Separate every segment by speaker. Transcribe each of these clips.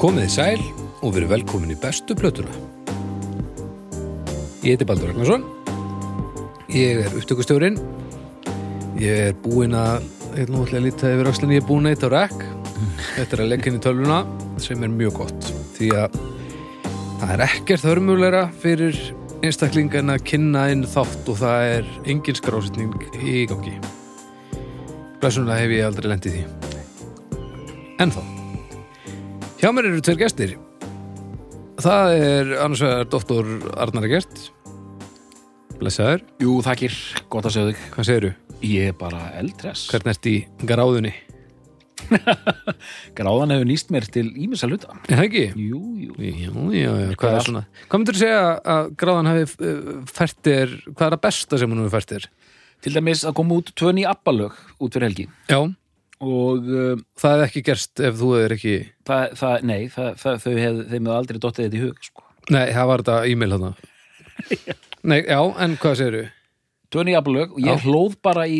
Speaker 1: Komið í sæl og verið velkomin í bestu plötuna. Ég heiti Baldur Ragnarsson, ég er upptökustjórinn, ég er búinn að, ég nú ætla ég að líta yfir axlinni, ég er búinn að eitt á rekk. Þetta er að leggja inn í tölvuna sem er mjög gott því að það er ekkert hörmulegra fyrir einstakling en að kynna inn þátt og það er engin skrásetning í gangi. Blessunlega hef ég aldrei lent í því. En þá. Hjá mér eru tveir gestir Það er annars vegar doktor Arnar Gert Blessaður,
Speaker 2: Jú, þakkir, gott að segja þig.
Speaker 1: hvað segirðu?
Speaker 2: Ég er bara eldres.
Speaker 1: Hvernig ert í gráðunni?
Speaker 2: Gráðan hefur nýst mér til ímissa hluta.
Speaker 1: Er það ekki?
Speaker 2: Jú, jú.
Speaker 1: Já, já, já, hvað er svona? Hvað myndir segja að gráðan hafi færtir, hvað er að besta sem hún hefur færtir?
Speaker 2: Til dæmis að koma út tvö ný appalög út fyrir helgi.
Speaker 1: Já,
Speaker 2: Og uh,
Speaker 1: það hefði ekki gerst ef þú hefur ekki
Speaker 2: það, það, nei, það, það, þau hef, þeim hefur aldrei dottið þetta í hug, sko.
Speaker 1: Nei, það var þetta e-mail þarna Nei, já, en hvað segirðu?
Speaker 2: Tvö ný appalög og ég
Speaker 1: Já.
Speaker 2: hlóð bara í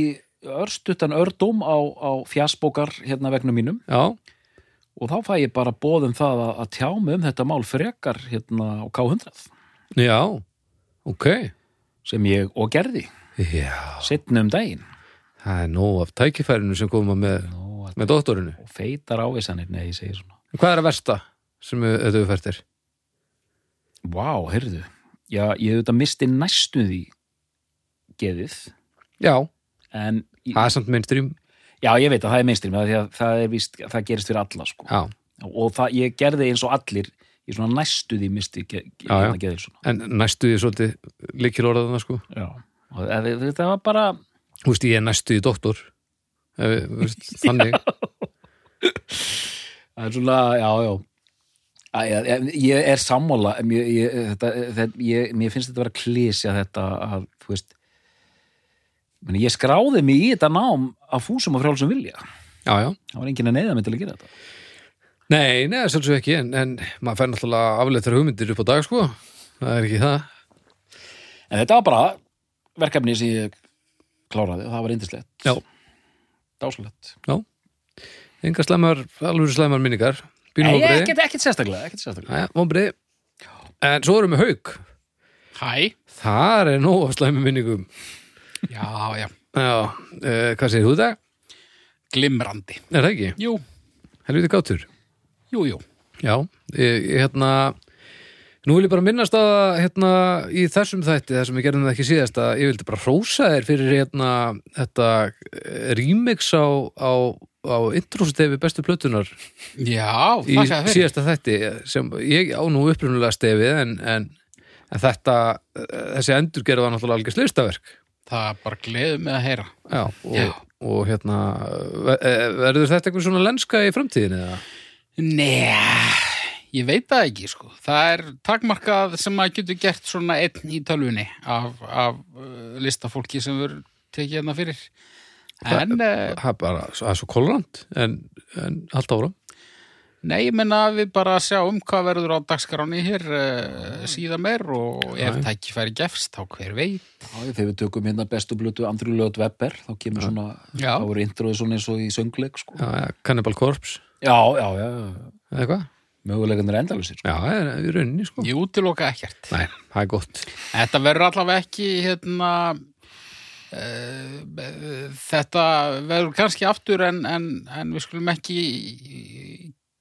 Speaker 2: örstuttan ördóm á, á fjassbókar hérna vegna mínum.
Speaker 1: Já,
Speaker 2: Og þá fæ ég bara boð um það að, að tjá mig um þetta mál frekar hérna á K100
Speaker 1: já, ok
Speaker 2: sem ég og gerði
Speaker 1: Já,
Speaker 2: setni um daginn. það
Speaker 1: það er nóg af tækifærinu sem koma með,
Speaker 2: Nú, að-
Speaker 1: með doktorinu
Speaker 2: og feitar ávísanir, nei, ég segi svona.
Speaker 1: En Hvað er að versta sem við- þetta við færtir?
Speaker 2: Vá, heyrðu. Já, ég hef þetta misti næstu því geðið,
Speaker 1: Já,
Speaker 2: en ég,
Speaker 1: það er samt mainstream
Speaker 2: já, ég veit að það er mainstream, það, það, það er víst, það gerist fyrir alla, sko.
Speaker 1: Já,
Speaker 2: Og það, ég gerði eins og allir, ég svona næstu því misti ge, ge,
Speaker 1: Já, já.
Speaker 2: hérna geðið svona.
Speaker 1: en næstu því svolítið líkil orðaðna sko
Speaker 2: Já. Og það- þetta var bara,
Speaker 1: Þú veist, ég er næstu því doktor Ef við- þú veist, Þannig
Speaker 2: það er svona, já, já. Æ, ég, ég- ég er sammála, em, ég, ég, þetta, þetta, ég, mér finnst þetta vera klísja þetta að, þú veist, meni, ég skráði mig í þetta nám að fúsum og frjálsum vilja.
Speaker 1: Já, já
Speaker 2: Það var enginn að neyða mig til að gera þetta.
Speaker 1: Nei, neða, svolítið ekki En, en maður fær náttúrulega afleitar hugmyndir upp á dag sko Það er ekki það
Speaker 2: En þetta var bara verkefni sem ég kláraði og það var indislegt.
Speaker 1: Já.
Speaker 2: Dáslegt.
Speaker 1: Enga slæmar, alveg slæmar minningar Bínum
Speaker 2: Nei,
Speaker 1: vonbreið
Speaker 2: ekkert, ekkert sérstaklega, ekkert sérstaklega.
Speaker 1: Jæja, vonbreið En svo erum við haug
Speaker 3: Hæ?
Speaker 1: Þar er nóg af slæmum minningum
Speaker 3: Já, já.
Speaker 1: Já, uh, hvað segir þú í dag?
Speaker 3: Glimrandi.
Speaker 1: Er það ekki?
Speaker 3: Jú,
Speaker 1: Helviti gátur
Speaker 3: jú, jú.
Speaker 1: Já, ég, ég, hérna Nú vil ég bara minnast á að hérna, í þessum þætti, þar sem við gerðum það ekki síðast að ég vildi bara hrósa þér fyrir hérna, þetta eh, remix á, á, á introstefi bestu plötunar
Speaker 3: Já,
Speaker 1: í
Speaker 3: það segja fyrir.
Speaker 1: síðasta þætti sem ég á nú upprunulega stefið en, en, en þetta, eh, þessi endurgerð var náttúrulega algjör slistaverk
Speaker 3: Það er bara gleðum með að heyra.
Speaker 1: Já, og,
Speaker 3: Já.
Speaker 1: og hérna ver- eh, verður þetta eitthvað svona lenska í framtíðinni eða?
Speaker 3: Nei, ég veit það ekki, sko. Það er takmarkað sem maður getur gert svona einn í tölvunni af, af uh, listafólki sem verður tekið hérna fyrir. En, eh,
Speaker 1: Það er bara, það er svo kolorant en, en allt ára
Speaker 3: nei, ég menna að við bara sjáum hvað verður á dagskráni hér uh, síðan meir og ef tækifæri gefst, þá hver veit.
Speaker 2: Já, ég- þegar við tökum hérna bestu blötu Andrew Lloyd Webber, þá kemur svona,
Speaker 3: Já.
Speaker 2: þá voru introðu svona eins og í söngleik, sko.
Speaker 1: Já, ja, Cannibal Corpse
Speaker 2: Já, já, já.
Speaker 1: eða eitthvað
Speaker 2: Möguleikarnir er endalusir, sko.
Speaker 1: Já, það er í rauninni sko
Speaker 3: Ég útiloka ekkert.
Speaker 1: Nei, það er gott
Speaker 3: Þetta verður allavega ekki hérna uh, þetta verður kannski aftur en, en, en við skulum ekki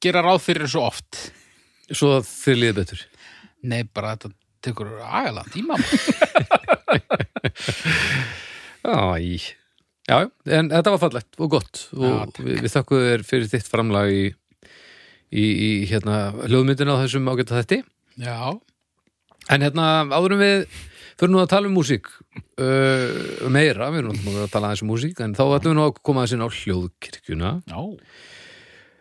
Speaker 3: gera ráð fyrir svo oft
Speaker 1: Svo að þið líði betur
Speaker 3: Nei, bara þetta tekur agalega tíma
Speaker 1: Já, í Já, en þetta var fallegt og gott
Speaker 3: Já,
Speaker 1: og við, við þakkuðu þér fyrir þitt framlag í, í, í hérna hljóðmyndina á þessum ágæta þetti
Speaker 3: Já,
Speaker 1: En hérna, áðurum við fyrir nú að tala um músík uh, meira, við erum náttúrulega að tala aðeins um músík en þá ætlum við nú að koma aðeins inn á hljóðkirkjuna
Speaker 2: Já.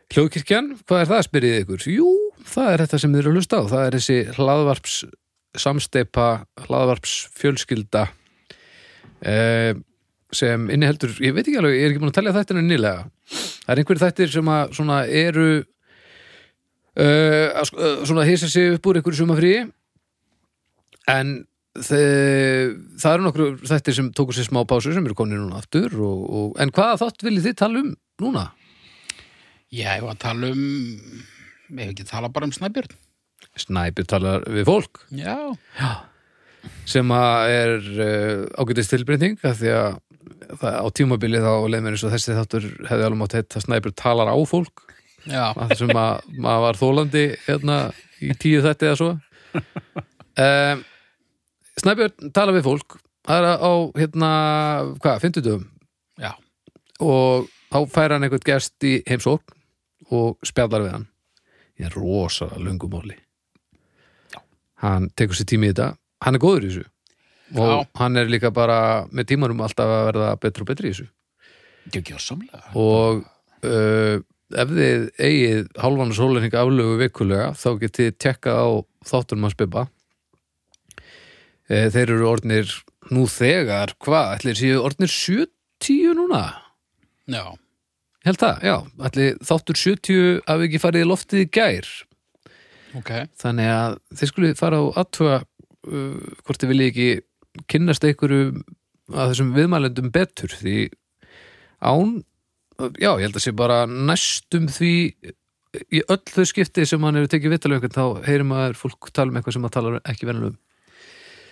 Speaker 1: Hljóðkirkjan, hvað er það, spyrjið ykkur? Jú, það er þetta sem þið eru að hlusta á. Það er þessi hlaðvarps samsteipa, hlaðvarps fjölskylda eh, sem inniheldur, ég veit ekki alveg, ég er ekki búin að telja þættinu nýlega. Það er einhverjir þættir sem að svona eru eh, að sk- eh, svona hýsa sig upp úr einhverju sumafríi en þe- það eru nokkru þættir sem tóku sér smá pásu sem eru konir núna aftur og, og, en hvaða þátt viljið þið tala um núna?
Speaker 3: ég hef að tala um Ef ekki tala bara um snæbjörn.
Speaker 1: Snæbjörn talar við fólk
Speaker 3: Já.
Speaker 1: sem að er uh, ágætis tilbreyting af því að það, á tímabili þá leið mér eins og þessi þáttur hefði alveg mátt heitt að Snæbjörn talar á fólk
Speaker 3: Já.
Speaker 1: að þessum að maður var þólandi hérna í tíu þætti eða svo um, Snæbjörn tala við fólk það er á hérna, hvað, 50 dögum
Speaker 3: Já.
Speaker 1: og þá fær hann einhvern gest í heimsókn og spjallar við hann í rosalega löngum máli hann tekur sér tími í þetta hann er góður í þessu og
Speaker 3: Já.
Speaker 1: hann er líka bara með tímanum alltaf að verða betri og betri í þessu
Speaker 2: Ég gjör samlega.
Speaker 1: og uh, ef þið eigið hálfan sólinning aflögu vikulega þá getið tjekkað á þáttunum að spibba e, þeir eru orðnir nú þegar, hvað, ætlir séu orðnir 70 núna?
Speaker 3: Já.
Speaker 1: Ég held það, já, ætlir þáttur 70 hafi ekki farið í loftið í gær
Speaker 3: Ok.
Speaker 1: þannig að þið skulle fara og aðtúa uh, hvort þið vilji ekki kynnast einhverju að þessum viðmælendum betur því án já, ég held að sé bara næstum því í öll þau skipti sem hann hefur tekið vitalegu einhvern þá heyrir maður fólk tala um eitthvað sem maður talar ekki venjulega um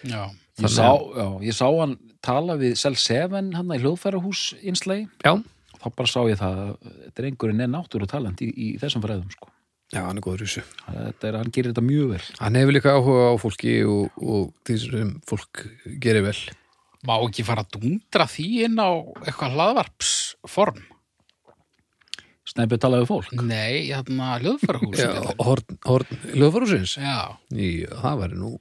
Speaker 3: Já.
Speaker 2: Ég sá, já, ég sá hann tala við Cell 7 hann í hljóðfærahús einslægi.
Speaker 1: já,
Speaker 2: Þá bara sá ég það að drengurinn er náttúru talent í, í þessum fræðum, sko.
Speaker 1: já, hann er góður í þessu
Speaker 2: Þetta er, hann gerir þetta mjög vel.
Speaker 1: hann hefur líka áhuga á fólki og, og því sem fólk gerir vel
Speaker 3: Má ekki fara að dundra því inn á eitthvað hlaðvarpsform?
Speaker 2: Snæpið talaði við fólk.
Speaker 3: Nei, hérna hljóðfærahús.
Speaker 1: Já, horn, horn lögfarúsins
Speaker 3: Já.
Speaker 1: það væri nú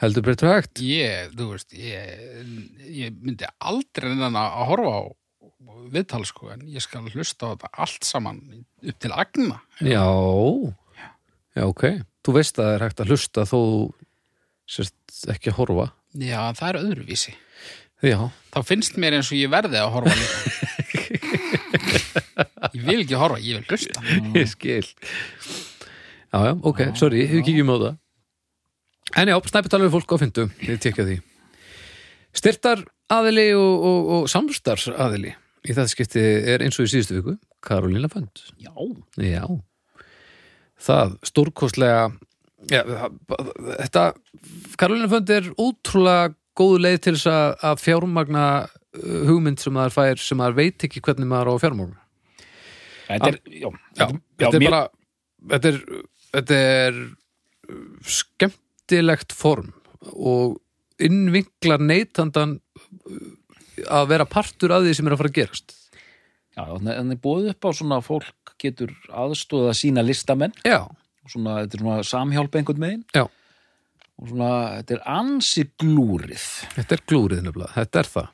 Speaker 1: heldur breyttur hægt
Speaker 3: Ég, þú veist, ég, ég myndi aldrei enn að horfa á viðtal, sko, en ég skal hlusta á þetta allt saman upp til agna.
Speaker 1: Já, já, ok. Þú veist að það er hægt að hlusta þó þú sérst ekki að horfa.
Speaker 3: Já, það er öðruvísi.
Speaker 1: Já,
Speaker 3: Þá finnst mér eins og ég verði að horfa líka. ég vil ekki horfa, ég vil hlusta.
Speaker 1: ég skil. Já, já, ok, sorry, við kíkjum á það. En já, snæpitalar við fólk á fyndum, við tekja því. Styrtar aðili og, og, og samstars aðili í það skipti er eins og í síðustu viku, Karolina Fönd.
Speaker 2: Já.
Speaker 1: Já. Það stórkostlega já, það- þetta Karolínufönd er ótrúlega góð leið til þess að, að fjármagna uh, hugmynd sem maður fær sem maður veit ekki hvernig maður á að fjármagna.
Speaker 2: Þetta er, já.
Speaker 1: þetta er
Speaker 2: mér-
Speaker 1: bara þetta er, þetta er uh, skemmtilegt form og innvinklar neytandan uh, að vera partur af því sem er að fara að gerast.
Speaker 2: Já, en þið búið upp á svona að fólk getur aðstóða sína listamenn
Speaker 1: Já,
Speaker 2: og svona, þetta er svona samhjálp einhvern veginn
Speaker 1: Já.
Speaker 2: og svona, þetta er ansi glúrið
Speaker 1: Þetta er glúrið nefnilega, þetta er það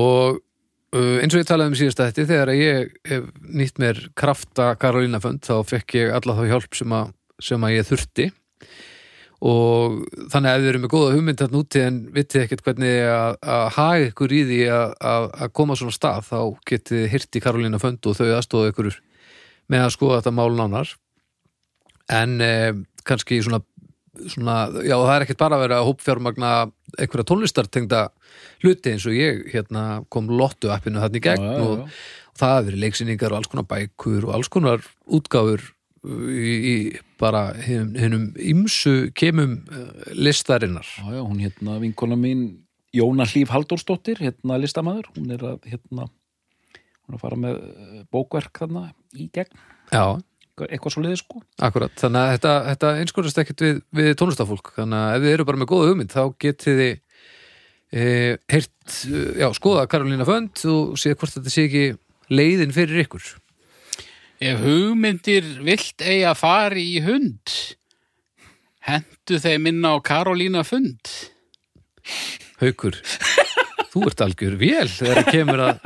Speaker 1: og uh, eins og ég talaði um síðast að þetta þegar að ég hef nýtt mér krafta Karolínafönd þá fekk ég alla þá hjálp sem að, sem að ég þurfti og þannig að ef þið eru með góða hugmynd þarna úti en vitið ekkert hvernig að, að haga ykkur í því að, að, að koma svona stað þá getið þið hirti Karolínafönd og þau aðstofa ykkur með að skoða þetta mál nánar en eh, kannski svona svona, já það er ekkert bara að vera að hópfjármagna einhverja tónlistartengda hluti eins og ég hérna kom lottu appinu þarna í gegn
Speaker 2: Já, já, já.
Speaker 1: og það hafa verið leiksýningar og alls konar bækur og alls konar útgáfur uh, í, í bara hin- hinum ymsu kemum uh, listarinnar
Speaker 2: Já, já, hún hérna, vinkona mín Jóna Hlíf Halldórsdóttir, hérna listamaður hún er að, hérna hún er að fara með eh, bókverk þarna í gegn,
Speaker 1: Já,
Speaker 2: eitthvað- eitthvað svo leiði sko
Speaker 1: akkurat, þannig að þetta, þetta einskorast ekkert við, við tónlistafólk þannig að ef þið eru bara með góða hugmynd þá getið þið e, heyrt, eh, já, skoða Karolína Fönd og séð hvort þetta sé ekki leiðin fyrir ykkur
Speaker 3: Ef hugmyndir vilt eiga að fara í hund, hendu þeim inn á Karolína fund.
Speaker 1: Haukur, þú ert algjör vél þegar það kemur að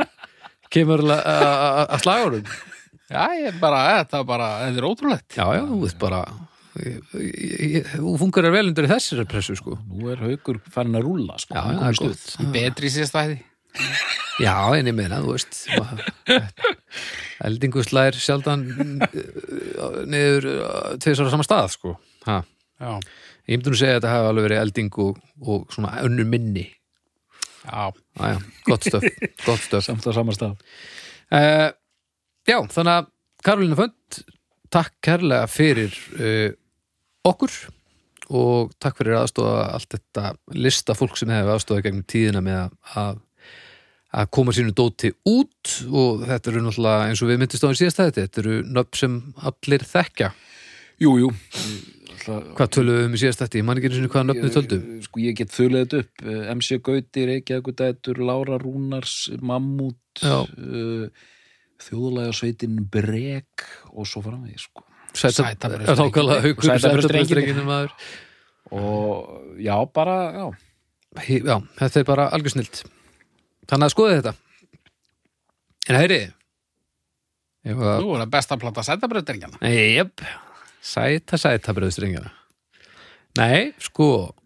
Speaker 1: kemur að- að að slagurum
Speaker 3: Já, ég bara, þetta er bara, þetta er ótrúlegt.
Speaker 1: Já, já, þú ert bara ég- ég- ég- þú fungerar vel undir þessari pressu sko
Speaker 2: nú er haukur farin að rúlla sko
Speaker 1: Já,
Speaker 2: Hann
Speaker 1: það er
Speaker 2: komst
Speaker 1: gott.
Speaker 2: upp.
Speaker 3: Betri sérstæði.
Speaker 1: Já, en ég meina, þú veist eldingu slær sjaldan eh, niður eh, tvisvar á sama stað, sko ha.
Speaker 3: Já.
Speaker 1: Ég myndi nú segja að þetta hafi alveg verið eldingu og svona önnur minni
Speaker 3: Já.
Speaker 1: Æja, gott stöf, gott stöf
Speaker 2: samt að samastaf
Speaker 1: Eh, uh, Já, þannig að Karolina Fönd takk kærlega fyrir uh, okkur og takk fyrir aðstofa allt þetta lista fólk sem hefur aðstofa gegnum tíðina með að- að að koma sínu dóti út og þetta eru náttúrulega eins og við myndist á því síðast þetta, þetta eru nöfn sem allir þekkja.
Speaker 2: Jú, jú Alltaf,
Speaker 1: Hvað töluðum við um í síðast þetta? Ég man ekki einu sinni hvaða nöfnu töldum.
Speaker 2: Sko ég get þulið þetta upp Eh, MC Gauti, Reykjavíkudætur, Lára Rúnars Mammút
Speaker 1: Já.
Speaker 2: uh, Þjóðlega sveitin Brek og svo framvegis sko.
Speaker 1: Sæta,
Speaker 3: Sætabrauðsdrengir.
Speaker 1: er nákvæmlega haukur
Speaker 2: Sætabrauðsdrengir.
Speaker 1: Sætabrauðsdrengirnir, maður.
Speaker 2: og já, bara já.
Speaker 1: Hí- Já, þetta er bara algjör snilt. Þannig að skoða þetta. En heyri, ég var
Speaker 3: Nú er það best að plata sætabröðdrengjana.
Speaker 1: Jep, sæta sæta bröðstringina Nei, sko,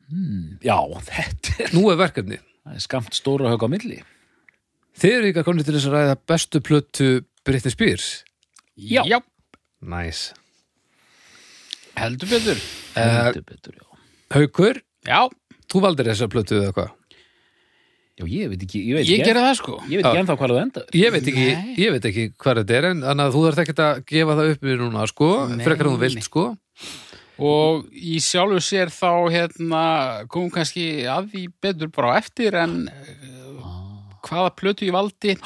Speaker 2: já, þetta er-
Speaker 1: nú er verkefni
Speaker 2: það er skamt stóra hög á milli
Speaker 1: Þið eru ykkar konið til þess að ræða bestu plötu Britney Spears
Speaker 2: Já.
Speaker 3: Já,
Speaker 1: Næs nice.
Speaker 3: heldur betur.
Speaker 2: Heldur betur, já.
Speaker 1: Haukur,
Speaker 3: Já,
Speaker 1: þú valdir þessa plötu eða hvað?
Speaker 2: já, ég veit ekki ég veit
Speaker 3: ég
Speaker 2: ekki,
Speaker 3: gerði það sko.
Speaker 2: ég veit ekki ennþá hvað það endar
Speaker 1: Ég veit ekki,
Speaker 3: Nei.
Speaker 1: ég veit ekki hvað þetta er en þannig að þú þarf ekkert að gefa það upp við núna sko,
Speaker 3: Nei.
Speaker 1: frekar en þú vilt sko
Speaker 3: Og í sjálfu sér þá hérna komum kannski að því betur bara á eftir en uh,
Speaker 2: Ah.
Speaker 3: hvaða plötu ég valdi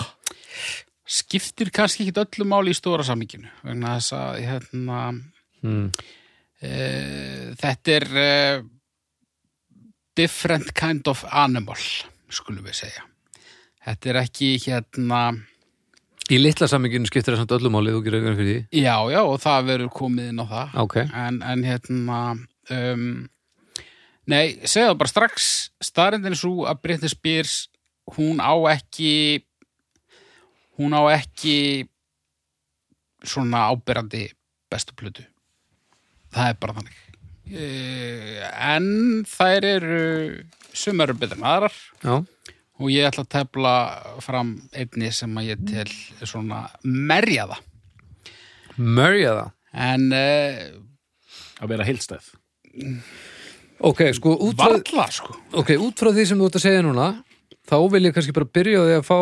Speaker 3: skiptir kannski ekki öllu máli í stóra samíkinu vegna þess að hérna
Speaker 1: mm.
Speaker 3: uh, þetta er uh, different kind of animal skulum við segja þetta er ekki hérna
Speaker 1: Í litla saminginu skiptir það samt öllum álið þú gerir eitthvað fyrir því
Speaker 3: já já og það verður komið inn á það
Speaker 1: Ok,
Speaker 3: en, en hérna um, nei, segðu það bara strax starrendin svo að Britney Spears hún á ekki hún á ekki svona áberandi bestu plötu það er bara þannig uh, en þær eru sumar eru betur en aðrar
Speaker 1: já,
Speaker 3: og ég ætla að tefla fram einni sem að ég tel svona merja það
Speaker 1: mörja það
Speaker 3: en uh,
Speaker 2: að vera heilstæð
Speaker 1: Ok, sko, út frá-
Speaker 3: varla sko
Speaker 1: Ok, út frá því sem þú ert að segja núna þá vil ég kannski bara byrja á því að fá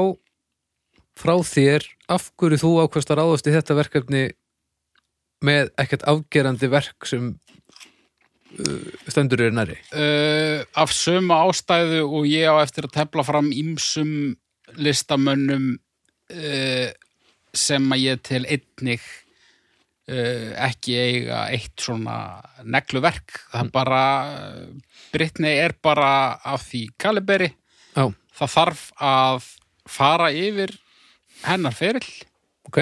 Speaker 1: frá þér af hverju þú ákvæmst að ráðast í þetta verkefni með ekkert afgerandi verk sem uh, stendur er næri
Speaker 3: uh, af sömu ástæðu og ég á eftir að tefla fram ímsum listamönnum uh, sem að ég tel einnig uh, ekki eiga eitt svona negluverk það bara Brittany er bara af því kaliberi
Speaker 1: Já,
Speaker 3: það þarf að fara yfir hennar ferill
Speaker 1: ok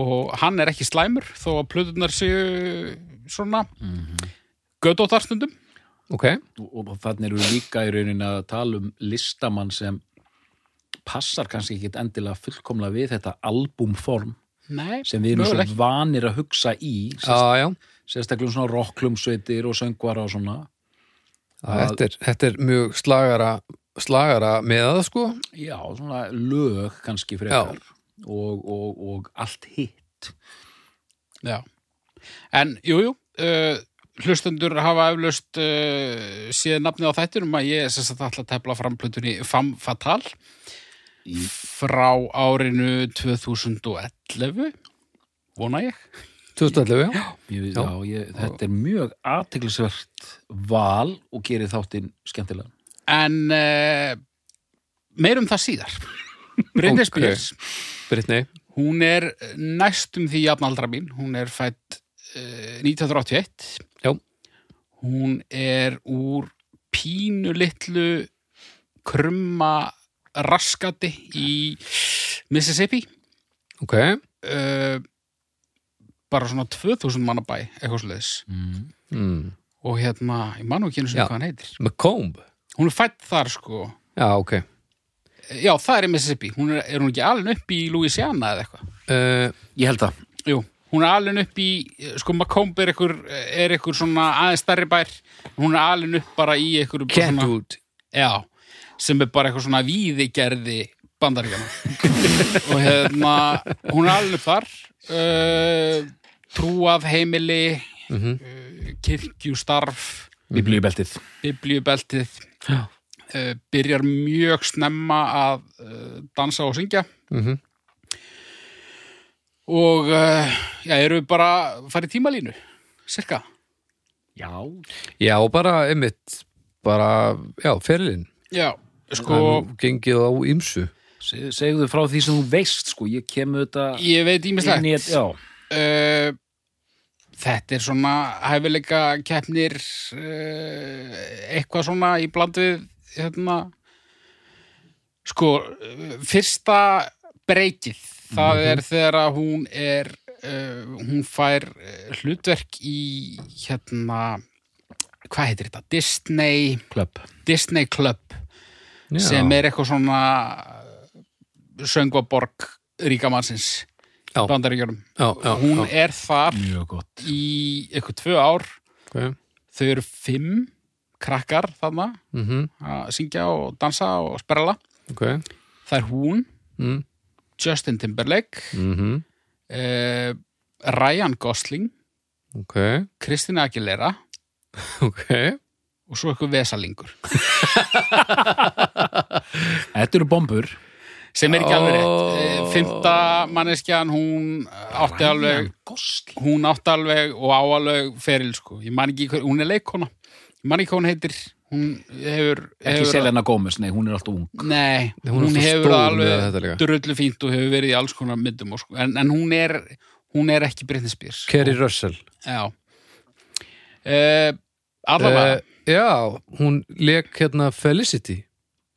Speaker 3: og hann er ekki slæmur þó að plöðunar séu svona mm gödóttarstundum
Speaker 1: Ok,
Speaker 2: og og þannig eru líka í raunin að tala um listamann sem passar kannski ekkit endilega fullkomlega við þetta albúmform
Speaker 3: Nei,
Speaker 2: sem við erum
Speaker 3: mögulega
Speaker 2: svo vanir að hugsa í
Speaker 1: já,
Speaker 2: sérst-
Speaker 1: já
Speaker 2: sérstaklega um svona rocklumsveitir og söngvara og svona Að-
Speaker 1: þetta er, þetta er mjög slagara slagara með það sko
Speaker 2: já, svona lög kannski frekar og, og, og allt hitt
Speaker 3: Já. En, jú, jú, uh, hlustendur hafa eflaust uh, síðan nafnið á þættinum að ég sem sagt ætla að tefla framplötunni Femme Fatale
Speaker 2: Í-
Speaker 3: frá árinu 2011, vona ég.
Speaker 1: 2011, já,
Speaker 2: ég, já,
Speaker 1: Já.
Speaker 2: ég, þetta er mjög athyglisvert val og gerir þáttinn skemmtilega
Speaker 3: En uh, meirum það síðar. Bryndis
Speaker 1: Ok.
Speaker 3: Björns.
Speaker 1: Brittany
Speaker 3: Hún er næstum því jafnaldra mín, hún er fætt uh, 1981.
Speaker 1: Já.
Speaker 3: Hún er úr pínu litlu krumma raskati í Mississippi,
Speaker 1: Ok,
Speaker 3: uh, bara svona 2000 manna bæ, eitthvað sliðis.
Speaker 2: mm.
Speaker 1: mm.
Speaker 3: Og hérna, ég man nú ekki einu sinni
Speaker 1: Já.
Speaker 3: hvað hann heitir.
Speaker 1: Macomb
Speaker 3: Hún er fætt þar sko,
Speaker 1: Já, ok
Speaker 3: já það er í Mississippi, hún er, er hún ekki alveg upp í Louisiana eða eitthvað?
Speaker 1: uh,
Speaker 2: ég held það
Speaker 3: Jú, hún er alveg upp í, sko Macomb er ykkur, er ykkur svona aðeins stærri bær, hún er alveg upp bara í ykkur svona,
Speaker 1: Kentwood
Speaker 3: já, sem er bara eitthvað svona víðigerði bandaríkjana. og hérna, hún er alveg upp þar, uh, trúað heimili, eh,
Speaker 1: mm
Speaker 3: kirkjustarf,
Speaker 2: biblíubeltið
Speaker 3: biblíubeltið,
Speaker 1: Já.
Speaker 3: uh, byrjar eh, mjög snemma að uh, dansa og syngja. og uh, já, erum við bara farið tímalínu, cirka
Speaker 2: Já,
Speaker 1: Já, og bara, einmitt, bara, já, ferlinn.
Speaker 3: Já, sko
Speaker 1: Það er nú gengið á ymsu.
Speaker 2: Se- segðu frá því sem þú veist, sko, ég kem auðvitað
Speaker 3: ég veit
Speaker 2: inn í
Speaker 3: ímislegt
Speaker 2: þetta, já.
Speaker 3: uh, þetta er svona hæfileika keppnir uh, eitthvað svona í bland við hérna sko, uh, fyrsta breykið það
Speaker 1: Mhm.
Speaker 3: er þegar að hún er uh, hún fær uh, hlutverk í hérna hvað heitir þetta? Disney
Speaker 2: Klöpp.
Speaker 3: Disney Club
Speaker 1: Já.
Speaker 3: sem er eitthvað svona eh, söngvaborg ríkamannsins
Speaker 1: Já.
Speaker 3: bandaríkjörum
Speaker 1: já, já,
Speaker 3: hún
Speaker 1: já,
Speaker 3: er þar
Speaker 2: Mjög gott.
Speaker 3: í eitthvað tvö ár
Speaker 1: ok.
Speaker 3: þau eru fimm krakkar þarna
Speaker 1: Mhm,
Speaker 3: að syngja og dansa og sprella
Speaker 1: ok.
Speaker 3: það er hún,
Speaker 1: Mm,
Speaker 3: Justin Timberlake
Speaker 1: mhm,
Speaker 3: uh, Ryan Gosling
Speaker 1: ok,
Speaker 3: Kristina Aguilera
Speaker 1: ok.
Speaker 3: og svo eitthvað vesalingur
Speaker 2: Þetta eru bombur.
Speaker 3: sem er ekki alveg rétt
Speaker 1: Ó.
Speaker 3: Eh, fimmta manneskjan hún átti alveg
Speaker 2: Gosling.
Speaker 3: hún átti alveg og á alveg feril sko, ég man ekki hver, hún er leikona ég man ekki hvað hún heitir hún hefur,
Speaker 2: Ekki
Speaker 3: hefur
Speaker 2: Selena Gomez, nei, hún er alltaf ung.
Speaker 3: nei,
Speaker 1: Hún er
Speaker 3: hún,
Speaker 1: alltaf
Speaker 3: hefur
Speaker 1: stór með þetta líka.
Speaker 3: alveg drullu fínt og hefur verið í alls konar myndum og sko, en, en hún er hún er ekki Britney Spears
Speaker 1: Kerry Russell.
Speaker 3: já uh, allavega,
Speaker 1: Eh, já, hún leik hérna Felicity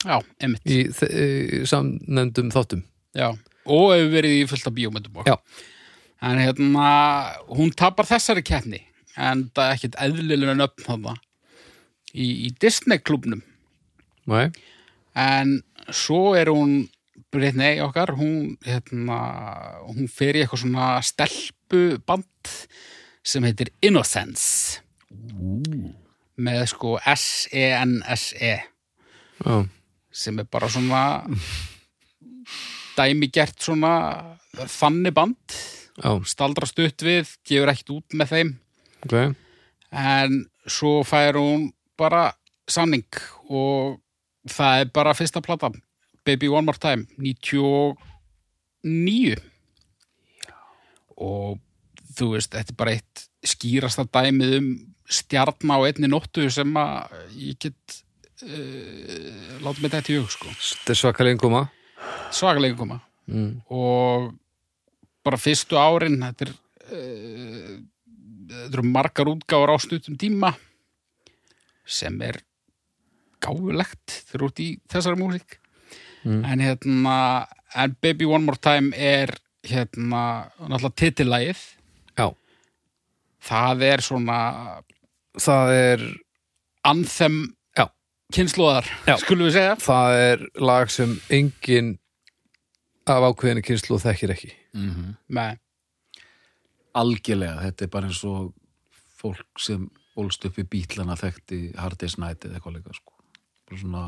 Speaker 3: já, emitt
Speaker 1: í, þe- í samnefndum þáttum.
Speaker 3: já, og hefur verið í fullt af bíómyndum og
Speaker 1: Já.
Speaker 3: en hérna, hún tapar þessari keppni en það er ekkert eðlilega nöfn þarna í, í Disney klubnum
Speaker 1: Nei,
Speaker 3: en svo er hún Britney okkar, hún hérna, hún fer í eitthvað svona stelpuband sem heitir Innocence með sko S-E-N-S-E
Speaker 1: já,
Speaker 3: E, sem er bara svona dæmigert svona þannig band
Speaker 1: já,
Speaker 3: staldrast upp við, gefur ekkert út með þeim
Speaker 1: ok.
Speaker 3: en svo fær hún bara samning og það er bara fyrsta plata Baby One More Time 99 og þú veist, þetta er bara eitt skýrasta dæmið um stjarna á einni nóttu sem að ég get uh, láta mig þetta í hug sko
Speaker 1: Þetta er svakalega enguma.
Speaker 3: svakalega koma
Speaker 1: Mm.
Speaker 3: og bara fyrstu árin þetta er uh, þetta eru margar útgáfur á stuttum tíma sem er gáfulegt þegar út í þessari músík
Speaker 1: Mm.
Speaker 3: en hérna en Baby One More Time er hérna, náttúrulega titillægið
Speaker 1: Já,
Speaker 3: það er svona
Speaker 1: það er,
Speaker 3: anþem
Speaker 1: Já.
Speaker 3: kynnslóðar,
Speaker 1: Já.
Speaker 3: skulum við segja
Speaker 1: það er lag sem engin af ákveðinu kynslu þekkir ekki.
Speaker 3: Nei.
Speaker 2: Algjörlega, þetta er bara eins og fólk sem ólst upp í bílana þekkti Hard Day's Night eða eitthvað líka, sko. Bara svona...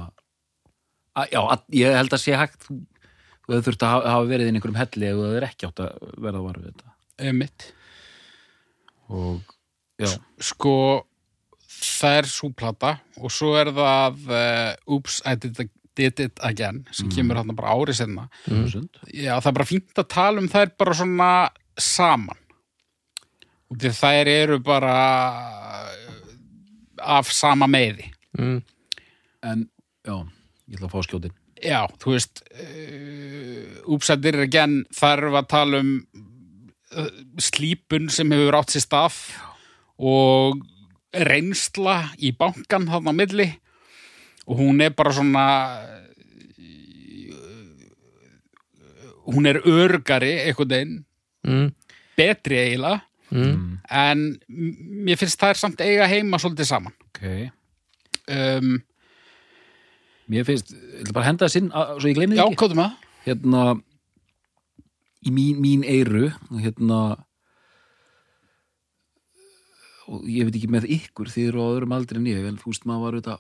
Speaker 2: A, já, að, ég held að sé hægt, þú þú hefur þurft að hafa, hafa verið inn í einhverjum helli ef þú hefur ekki átt að verða var við þetta.
Speaker 3: Einmitt.
Speaker 2: Og, já,
Speaker 3: sko það er svo plata og svo er það uh, Oops, I did, did it again sem kemur hann bara árið senna
Speaker 2: þúsund.
Speaker 3: já, það er bara fínt að tala um þær bara svona saman og því að þær eru bara eh, af sama meði
Speaker 1: Mm.
Speaker 2: En, já, ég ætla að fá skjótin.
Speaker 3: já, þú veist uh, Oops, I did it again þær var að tala um uh, slípun sem hefur átt sér stað og reynsla í bankan þarna á milli og hún er bara svona eh, hún er örgari einhvern veginn,
Speaker 1: Mm.
Speaker 3: betri eiginlega
Speaker 1: Mm.
Speaker 2: Mm.
Speaker 3: en m- mér finnst það er samt eiga heima svolítið saman
Speaker 2: Ok.
Speaker 3: um,
Speaker 2: Mér finnst, ég ætla bara að henda þess inn, að- svo ég gleymi
Speaker 3: Já,
Speaker 2: því ekki.
Speaker 3: kóðum að
Speaker 2: hérna í mín, mín eiru hérna og ég veit ekki með ykkur þið eru á öðrum aldri en ég en þú veist maður var auðvitað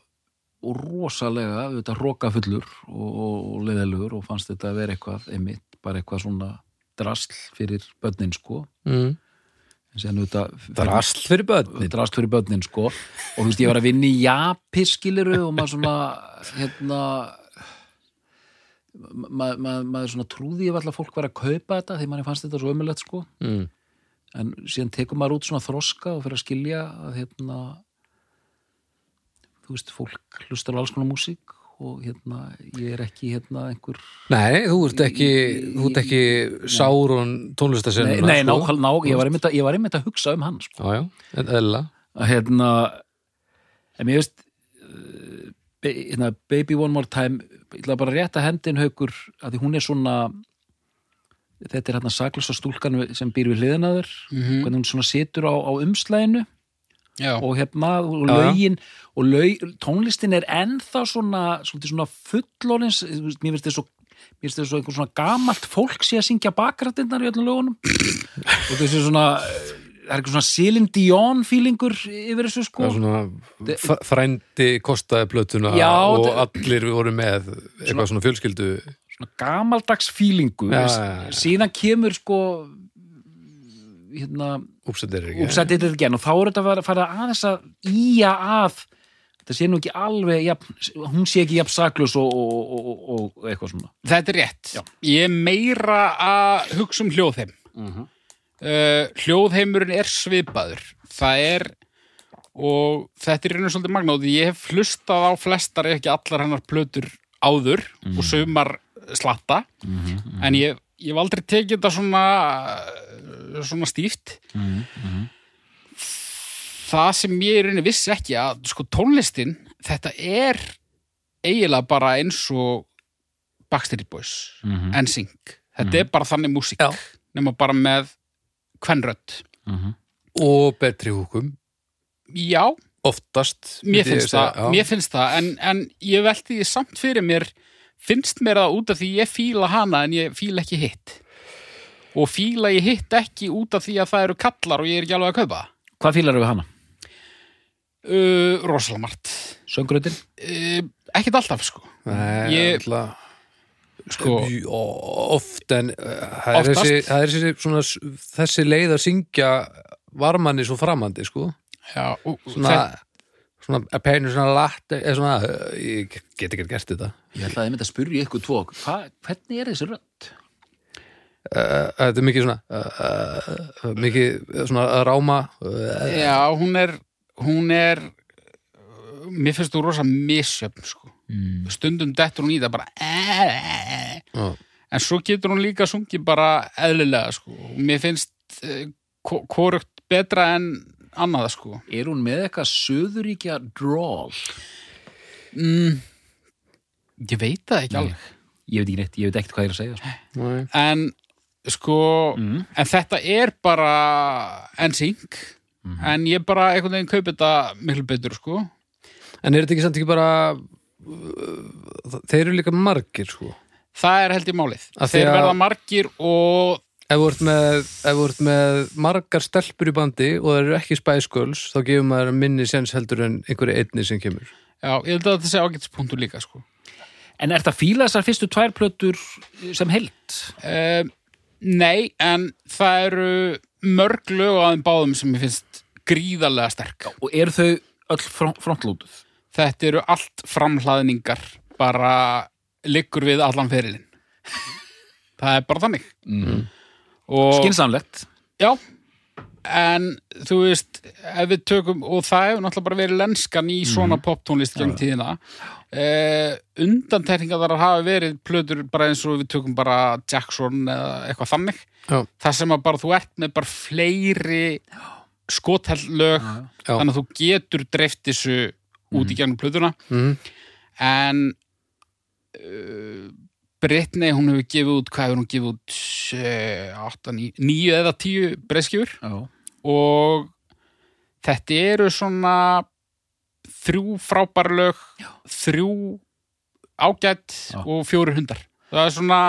Speaker 2: og rosalega auðvitað rokafullur og, og, og leðalugur og fannst þetta að vera eitthvað einmitt, bara eitthvað svona drasl fyrir börnin sko
Speaker 1: Mm.
Speaker 2: en séðan auðvitað
Speaker 1: Drasl fyrir börnin.
Speaker 2: drast fyrir börnin sko og þú veist ég var að vinna í japiskiliru og maður svona hérna ma ma maður svona trúði ég alltaf að fólk var að kaupa þetta því manni fannst þetta svo ömulegt sko
Speaker 1: mm.
Speaker 2: en síðan tekur maður út svona þroska og fyrir að skilja að hérna þú veist, fólk hlustar á alls konar músík og hérna, ég er ekki hérna einhver
Speaker 1: Nei, þú ert ekki, þú ert ekki Sauron
Speaker 2: Nei,
Speaker 1: tónlistasennuna
Speaker 2: nei nákvæmlega, ná, ég var einmitt að- ég var einmitt að hugsa um hann sko.
Speaker 1: Já, já, en eðla
Speaker 2: að hérna en ég veist eh, ba- hérna, Baby One More Time ég ætla bara að rétta hendin haukur að því hún er svona þetta er hérna saklösa stúlkan við- sem býr við hliðinaður mm -hmm. hvernig hún svona situr á, á umslæðinu
Speaker 3: já,
Speaker 2: og hérna
Speaker 1: Já,
Speaker 2: og
Speaker 1: já.
Speaker 2: lögin og lög, tónlistin er ennþá svona, svolítið svona fullorins mér finnst þetta svo mér finnst þetta svo einhver svona gamalt fólk sé að syngja bakrættinnar í öllum lögunum og þessi svona það er eitthvað svona Céline Dion feelingur yfir þessu sko
Speaker 1: Það er svona fr- frændi kostaði plötuna
Speaker 2: Já,
Speaker 1: og
Speaker 2: þetta-
Speaker 1: allir voru með eitthvað svona fjölskyldu
Speaker 2: svona gamaldags feelingur
Speaker 1: Já, já, já.
Speaker 2: síðan kemur sko hérna
Speaker 1: uppsendir ekki
Speaker 2: uppsætt eitthvað genn og þá er þetta að fara aðeins að íja að þetta sé nú ekki alveg jafn, hún sé ekki jafn saklus og, og, og, og, og eitthvað svona
Speaker 3: þetta er rétt ég er meira að hugsa um hljóðheim uh, hljóðheimurinn er svipaður það er og þetta er einu svolítið magna og því ég hef hlustað á flestar ef ekki allar hennar plötur áður og sumar slatta en ég, ég hef aldrei tekið þetta svona uh, svona stíft það sem ég í rauninni vissi ekki að sko tónlistin þetta er eiginlega bara eins og Backstreet Boys
Speaker 2: Mhm.
Speaker 3: NSYNC þetta er bara þannig músík
Speaker 1: Mhm. Já.
Speaker 3: nema bara með kvenrödd
Speaker 1: og betri húkum
Speaker 3: já,
Speaker 1: oftast myndi
Speaker 3: mér
Speaker 1: ég
Speaker 3: finnst það,
Speaker 1: segja, já.
Speaker 3: mér finnst það en, en ég velti því samt fyrir mér finnst mér það út af því ég fíla hana en ég fíla ekki hitt og fíla ég hitt ekki út af því að það eru kallar og ég er ekki alveg að kaupa það.
Speaker 2: Hvað fílar við hana?
Speaker 3: uh, rosalega margt
Speaker 2: Söngröðin?
Speaker 3: uh, ekkert alltaf sko
Speaker 1: Nei,
Speaker 3: Ég-
Speaker 1: alltaf
Speaker 3: sko,
Speaker 1: Jú, oft en uh, það er
Speaker 3: Oftast.
Speaker 1: þessi, það er þessi, svona, s- þessi leið að syngja varmanni svo framandi sko.
Speaker 3: já, og,
Speaker 1: svona,
Speaker 3: það,
Speaker 1: svona að peinu svona latt eða svona, uh, ég get ekki gert þetta
Speaker 2: Ég ætlaði einmitt að spyrja ykkur tvo hva, Hvernig er þessi rödd?
Speaker 1: Uh, þetta er mikið svona uh, uh, uh, mikið uh, svona að ráma uh,
Speaker 3: já, hún er hún er uh, mér finnst þú rosa misjöfn sko
Speaker 2: Mm.
Speaker 3: stundum dettur hún í það bara "Eh."
Speaker 1: Já.
Speaker 3: en svo getur hún líka sungið bara eðlilega sko og mér finnst uh, korugt betra en annað sko
Speaker 2: Er hún með eitthvað söðuríkja drawl?
Speaker 3: mm. ég veit það ekki alveg
Speaker 2: Ég veit ekki neitt, ég veit ekkert hvað ég er að segja sko.
Speaker 1: nei.
Speaker 3: en sko
Speaker 2: Mm.
Speaker 3: en þetta er bara NSYNC
Speaker 2: Mhm.
Speaker 3: en ég bara einhvern veginn kaupi þetta miklu betur sko
Speaker 1: en er þetta ekki samt ekki bara uh, þeir eru líka margir sko.
Speaker 3: það er held í málið
Speaker 1: Af því
Speaker 3: þeir
Speaker 1: að-
Speaker 3: verða margir og
Speaker 1: ef þú ert með, ef þú ert með margar stelpur í bandi og það eru ekki spæsköls þá gefur maður minni séns heldur en einhverju einni sem kemur
Speaker 3: já, ég held að þetta sé ágætspunktur líka sko
Speaker 2: En er þetta fíla þessar fyrstu tvær plötur sem held?
Speaker 3: Uh, nei, en það eru mörg lög á þeim báðum sem ég finnst gríðarlega sterk.
Speaker 2: Og eru þau öll front, frontlútuð?
Speaker 3: Þetta eru allt framhlaðningar, bara liggur við allan ferilinn. það er bara þannig.
Speaker 2: Mm.
Speaker 3: Og,
Speaker 2: Skinsamlegt
Speaker 3: Já, en þú veist, ef við tökum, og það hefur náttúrulega bara verið lenskan í svona poptónlist gegn tíðina, uh, undantekningar þar hafa verið plötur bara eins og við tökum bara Jackson eða eitthvað þannig.
Speaker 1: Já.
Speaker 3: það sem að bara þú ert með bara fleiri skotellög
Speaker 1: Já.
Speaker 3: þannig að þú getur dreift þessu út í gegnum plötuna
Speaker 1: mm.
Speaker 3: en uh, Britney hún hefur gefið út, hvað hefur hún gefið út Eh, 8, 9, 9 eða 10 breyskjur
Speaker 2: Já.
Speaker 3: og þetta eru svona þrjú frábær lög þrjú ágætt
Speaker 2: Já.
Speaker 3: og fjóri hundar það er svona,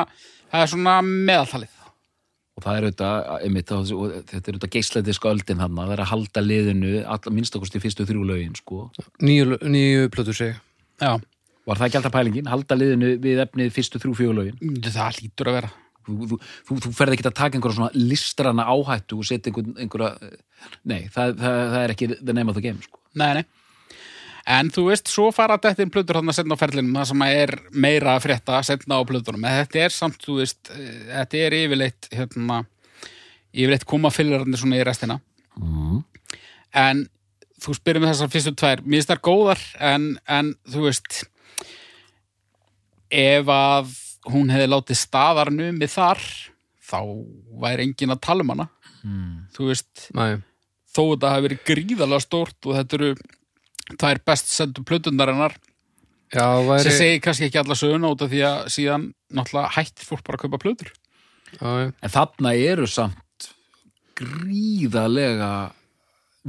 Speaker 3: það er svona meðaltalið
Speaker 2: og það er auðvitað, einmitt, á þessu- og þetta er auðvitað geislæti sköldin hann, það er að halda liðinu all, minnstakosti fyrstu þrjú lögin, sko
Speaker 1: nýju, nýju plötur sig
Speaker 3: Já,
Speaker 2: var það ekki alltaf pælingin, halda liðinu við efnið fyrstu þrjú fjögur lögin
Speaker 3: Mm, það hlýtur að vera
Speaker 2: þú, þú, þú, þú ferð ekki að taka einhverja svona listrana áhættu og setja einhver, einhverja nei, það, það, það er ekki the name of the game, sko
Speaker 3: Nei, nei. En þú veist, svo fara þetta inn plötur þarna setna á ferlinum, það sem er meira að frétta setna á plötunum. En þetta er samt, þú veist, eh, þetta er yfirleitt, hérna, yfirleitt koma fylgjarnir svona í restina.
Speaker 2: Mm.
Speaker 3: En þú spyrir mig þessar fyrstu tvær, mér finnst þær góðar, en, en þú veist, ef að hún hefði látið staðar numið þar, þá væri engin að tala um hana. Mm. Þú veist,
Speaker 1: Næ,
Speaker 3: þó þetta hafi verið gríðalega stórt og þetta eru tvær best sendu plötundarinnar
Speaker 1: já,
Speaker 3: sem
Speaker 1: væri
Speaker 3: segir kannski ekki alla söguna út af því að síðan náttúrulega hættir fólk bara að kaupa plötur
Speaker 1: já, já.
Speaker 2: En þarna eru samt gríðalega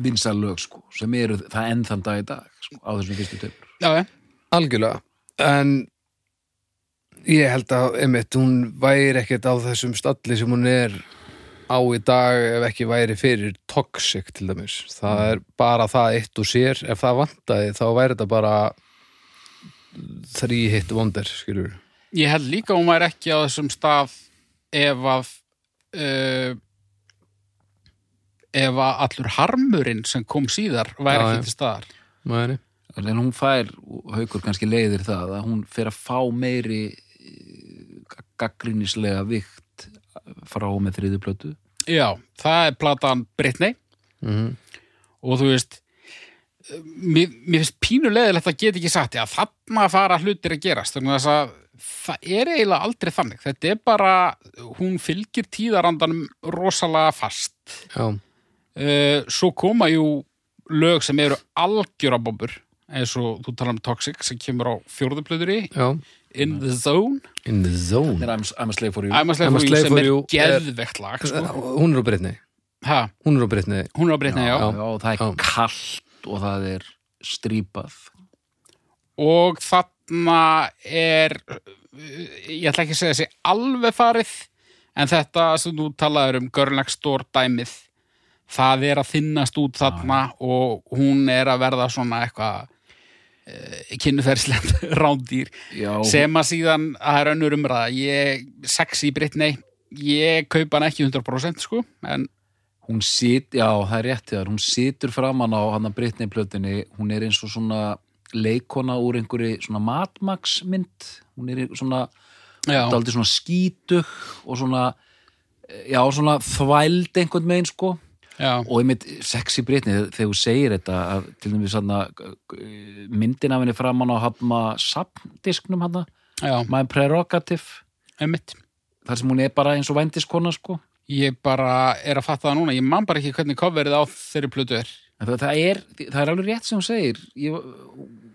Speaker 2: vinsalög sko, sem eru það enn þann dag í dag sko, á þessum fyrstu töfur.
Speaker 3: Já, já,
Speaker 1: algjörlega en ég held að einmitt, hún væri ekkert á þessum stalli sem hún er á í dag ef ekki væri fyrir toxic til dæmis það er bara það eitt og sér ef það vantaði þá væri þetta bara þrý hitt vonder skilur
Speaker 3: ég held líka að hún væri ekki á þessum stað ef að uh, ef að allur harmurinn sem kom síðar væri
Speaker 1: Já, já.
Speaker 3: ekki til staðar
Speaker 1: Mæri.
Speaker 2: En hún fær, haukur kannski leiðir það, að hún fer að fá meiri gaggrinislega vikt frá og með þriðu plötu.
Speaker 3: Já, það er platan Britney
Speaker 1: Mhm.
Speaker 3: og þú veist mér, mér finnst pínulegilegt að geta ekki sagt já, þarna fara hlutir að gerast þannig að þess að það er eiginlega aldrei þannig þetta er bara, hún fylgir tíðarandanum rosalega fast
Speaker 1: já,
Speaker 3: uh, svo koma jú lög sem eru algjörabobur eins og þú talar um Toxic sem kemur á fjórðuplöðuri
Speaker 1: já
Speaker 3: In the Zone
Speaker 1: in the
Speaker 2: Það
Speaker 1: zone
Speaker 2: er I'm- I'm a slave for you.
Speaker 3: I'm a Slave
Speaker 1: I'm a
Speaker 3: for You
Speaker 1: Slave
Speaker 3: sem
Speaker 1: for
Speaker 3: er
Speaker 1: You er-
Speaker 3: geðvegt lag sko.
Speaker 1: hún er á breytni
Speaker 3: ha,
Speaker 1: hún er á breytni
Speaker 3: hún er á Britney, já,
Speaker 2: já, það er
Speaker 1: Já.
Speaker 2: kallt og það er strípað.
Speaker 3: og þarna er ég ætla ekki að segja þessi alveg farið en þetta sem þú talaður um Girl Next Door dæmið það er að þinnast út þarna og hún er að verða svona eitthvað uh, kynferðslegt rándýr
Speaker 2: Já,
Speaker 3: sem að síðan, það er önnur umræða ég, sexy Britney ég kaupa hann ekki 100% sko en
Speaker 2: hún sit, já, það er rétt þér, hún situr framan á hann að Britney plötunni, hún er eins og svona leikona úr einhverju svona matmaksmynd, hún er svona,
Speaker 3: já,
Speaker 2: daldið svona skítug og svona, eh, já, svona þvæld einhvern megin, sko.
Speaker 3: já,
Speaker 2: Og einmitt sexy Britney, þegar- þegar þú segir þetta, að, til dæmis hann myndin af henni framan á hafna sapndisknum hann,
Speaker 3: já,
Speaker 2: my prerogative,
Speaker 3: einmitt
Speaker 2: þar sem hún er bara eins og vændiskona, sko.
Speaker 3: ég bara er að fatta það núna ég man bara ekki hvernig coverið á þeirri plötu er
Speaker 2: En Það, það, er, það er alveg rétt sem hún segir ég,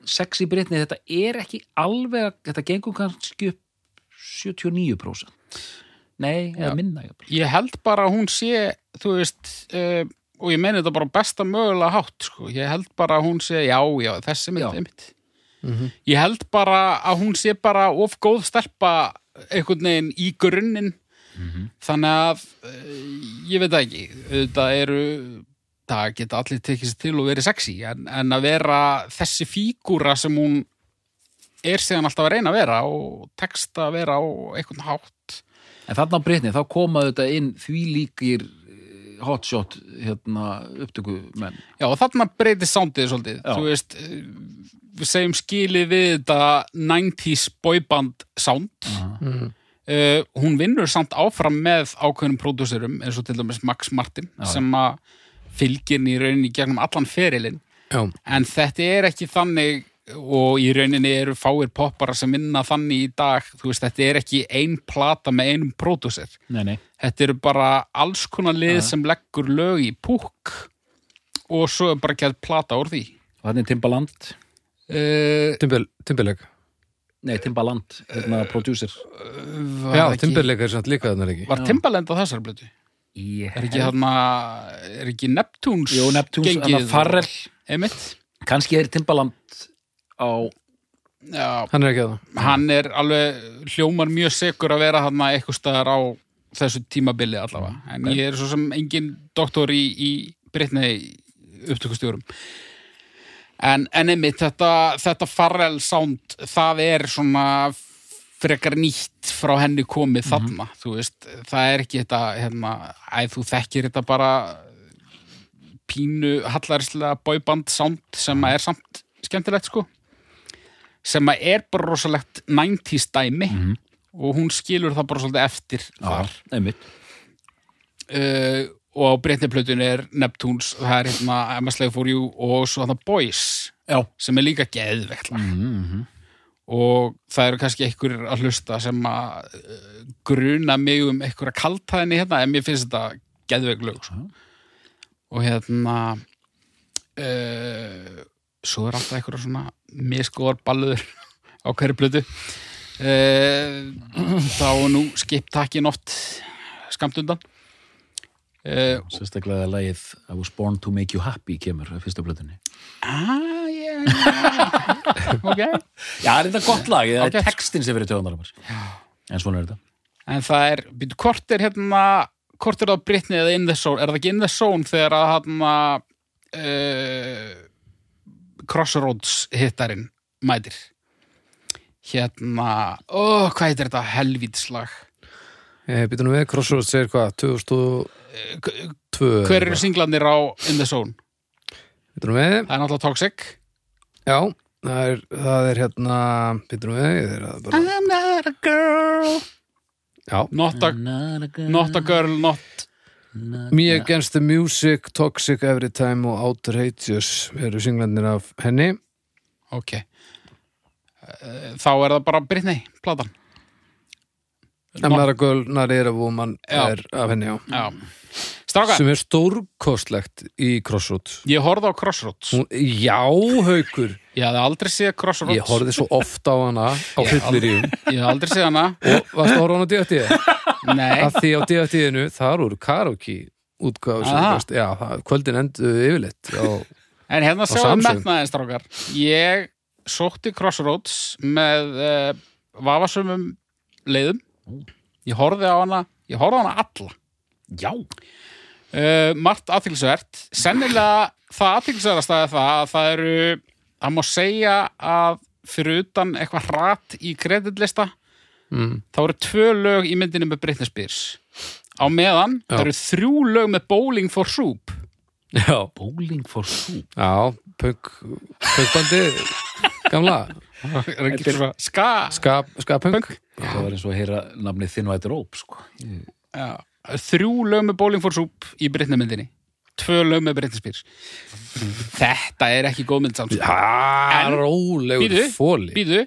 Speaker 2: sexy Britney, þetta er ekki alveg, þetta gengur kannski upp 79% nei, eða
Speaker 3: Já.
Speaker 2: minna jafnvel.
Speaker 3: Ég held bara að hún sé, þú veist, uh, og ég meni þetta bara á besta mögulega hátt, sko. Ég held bara að hún sé, já, já, þessi mynd,
Speaker 2: Já.
Speaker 3: einmitt. Ég held bara að hún sé bara of góð stelpa einhvern veginn í grunninn. Þannig að, uh, ég veit það ekki, þetta eru, það geta allir tekið sér til og verið sexy, en, en að vera þessi fígúra sem hún er síðan alltaf að reyna að vera og tekst að vera á einhvern hátt.
Speaker 2: en þarna á Britney, þá koma þetta inn því líkir hotshot hérna, upptökumenn
Speaker 3: Já, og þarna breytir soundið svolítið.
Speaker 2: Já.
Speaker 3: Þú veist, eh, við segjum skilið við þetta 90s boyband sound.
Speaker 1: Mhm.
Speaker 3: Eh, hún vinnur samt áfram með ákveðnum pródúserum, eins og til dæmis Max Martin,
Speaker 2: Já, já.
Speaker 3: sem að fylgir henni í rauninni í gegnum allan ferilinn.
Speaker 1: já,
Speaker 3: En þetta er ekki þannig og í rauninni eru fáir poppara sem vinna þannig í dag. Þú veist, þetta er ekki ein plata með einum pródúser.
Speaker 2: nei, nei.
Speaker 3: Þetta eru bara alls konar lið
Speaker 2: Já.
Speaker 3: sem leggur lög í púkk og svo er bara gæð plata úr því.
Speaker 2: og þannig Timbaland Eh,
Speaker 3: Uh,
Speaker 1: Timberl- Timberlake
Speaker 2: nei, Timbaland, hérna producer
Speaker 3: var
Speaker 1: já,
Speaker 3: ekki-
Speaker 1: Timberlake er samt líka þannig ekki
Speaker 3: Var Timbaland á þessar blötu?
Speaker 2: ég
Speaker 3: Er ekki, hana, er ekki Neptunes
Speaker 2: Jó, Neptunes, hann að Farrell
Speaker 3: Einmitt?
Speaker 2: kannski er Timbaland á
Speaker 3: Já,
Speaker 1: hann er ekki að það
Speaker 3: hann er alveg hljómar mjög segur að vera hann eitthvað staðar á þessu tímabili allavega. En ég er svo sem engin doktor í, í Britney upptökustjórum. En, en einmitt, þetta, þetta Farrell sound, það er svona frekar nýtt frá henni komið þarna, þú veist, það er ekki þetta, hérna, æ, þú þekkir þetta bara pínu hallarslega boyband sound sem er samt skemmtilegt sko sem að er bara rosalegt 90s dæmi og hún skilur það bara svolítið eftir þar
Speaker 2: einmitt
Speaker 3: uh, og á breytniplötun er Neptunes, það er hérna I'm a Slave for You og svo hann Boys
Speaker 2: Já.
Speaker 3: sem er líka geðvegt lag
Speaker 2: Mhm,
Speaker 3: og það eru kannski einhverjir að hlusta sem að uh, gruna mig um einhverja kaltæðinni hérna en mér finnst þetta geðveg lög sko. og hérna uh, svo er alltaf einhverja svona miskóðar balluður á hverju plötu uh, þá er nú skip takkin oft skamt undan uh,
Speaker 2: sérstaklega að lagið I was born to make you happy kemur á fyrsta blöðunni
Speaker 3: Ah, yeah, ok
Speaker 2: já, það er þetta gott lag, það
Speaker 3: Ágætt.
Speaker 2: er textin sem verið tjóðanar en svona er þetta
Speaker 3: En það er, býtu, hvort er hérna hvort er það Britney eða In The Zone er það ekki In The Zone þegar að hérna uh, Crossroads hittarinn mætir hérna ó, hvað heitir þetta helvítslag
Speaker 1: Eh, Býtum við, Crossroads er hvað, 2002?
Speaker 3: hver eru singlandir á In The Zone
Speaker 1: Býtum við,
Speaker 3: það er náttúrulega Toxic
Speaker 1: já, það er, það er hérna, býtum við, ég er að bara,
Speaker 3: I'm not a girl
Speaker 1: já,
Speaker 3: not a, not a girl not
Speaker 1: Me Against the Music, Toxic Every Time og Outer Hateous eru singlandir af henni.
Speaker 3: ok Eh, þá er það bara Britney platan
Speaker 1: Amara Girl, Narira Woman
Speaker 3: Já.
Speaker 1: er af henni, já.
Speaker 3: Já. stráka,
Speaker 1: Sem er stórkostlegt í Crossroads.
Speaker 3: ég horfði á Crossroads
Speaker 1: Hún, já, haukur,
Speaker 3: Ég hafði aldrei séð Crossroads
Speaker 1: ég horfði svo oft á hana á fylliríum.
Speaker 3: Ég hafði aldrei séð hana
Speaker 1: Og varstu að horfa á hana á DFT?
Speaker 3: Nei,
Speaker 1: að því á DFT-inu þar voru karaoke útgáðu sem
Speaker 3: Aha.
Speaker 1: þú veist, já, það- kvöldin endu yfirleitt já,
Speaker 3: en hérna sjáum
Speaker 1: Samsung.
Speaker 3: metnaðin strákar Ég sótti Crossroads með uh, vafasumum leiðum Ég horfði á hana Ég horfði á hana alla
Speaker 2: já,
Speaker 3: uh, Margt aðtilsvert Sennilega það aðtilsverðast að það að það eru Það má segja að fyrir utan eitthvað hrat í kreditlista
Speaker 1: mm,
Speaker 3: þá eru tvö lög í myndinni með Britney Spears á meðan,
Speaker 1: Já.
Speaker 3: það eru þrjú lög með Bowling for Soup
Speaker 1: já,
Speaker 2: Bowling for Soup
Speaker 1: já punk, punkbandi gamla,
Speaker 3: Þetta er ska
Speaker 1: ska, ska punk
Speaker 2: það var eins og að heyra nafnið Thin White Rope sko. Ég-
Speaker 3: Já. Þrjú lög með Bowling for Soup í Britney myndinni Tvö lög með Britney Spears Þetta er ekki góð mynd samt sko.
Speaker 1: já,
Speaker 3: En-
Speaker 1: rólegur
Speaker 3: Býðu,
Speaker 1: fóli
Speaker 3: Býðu,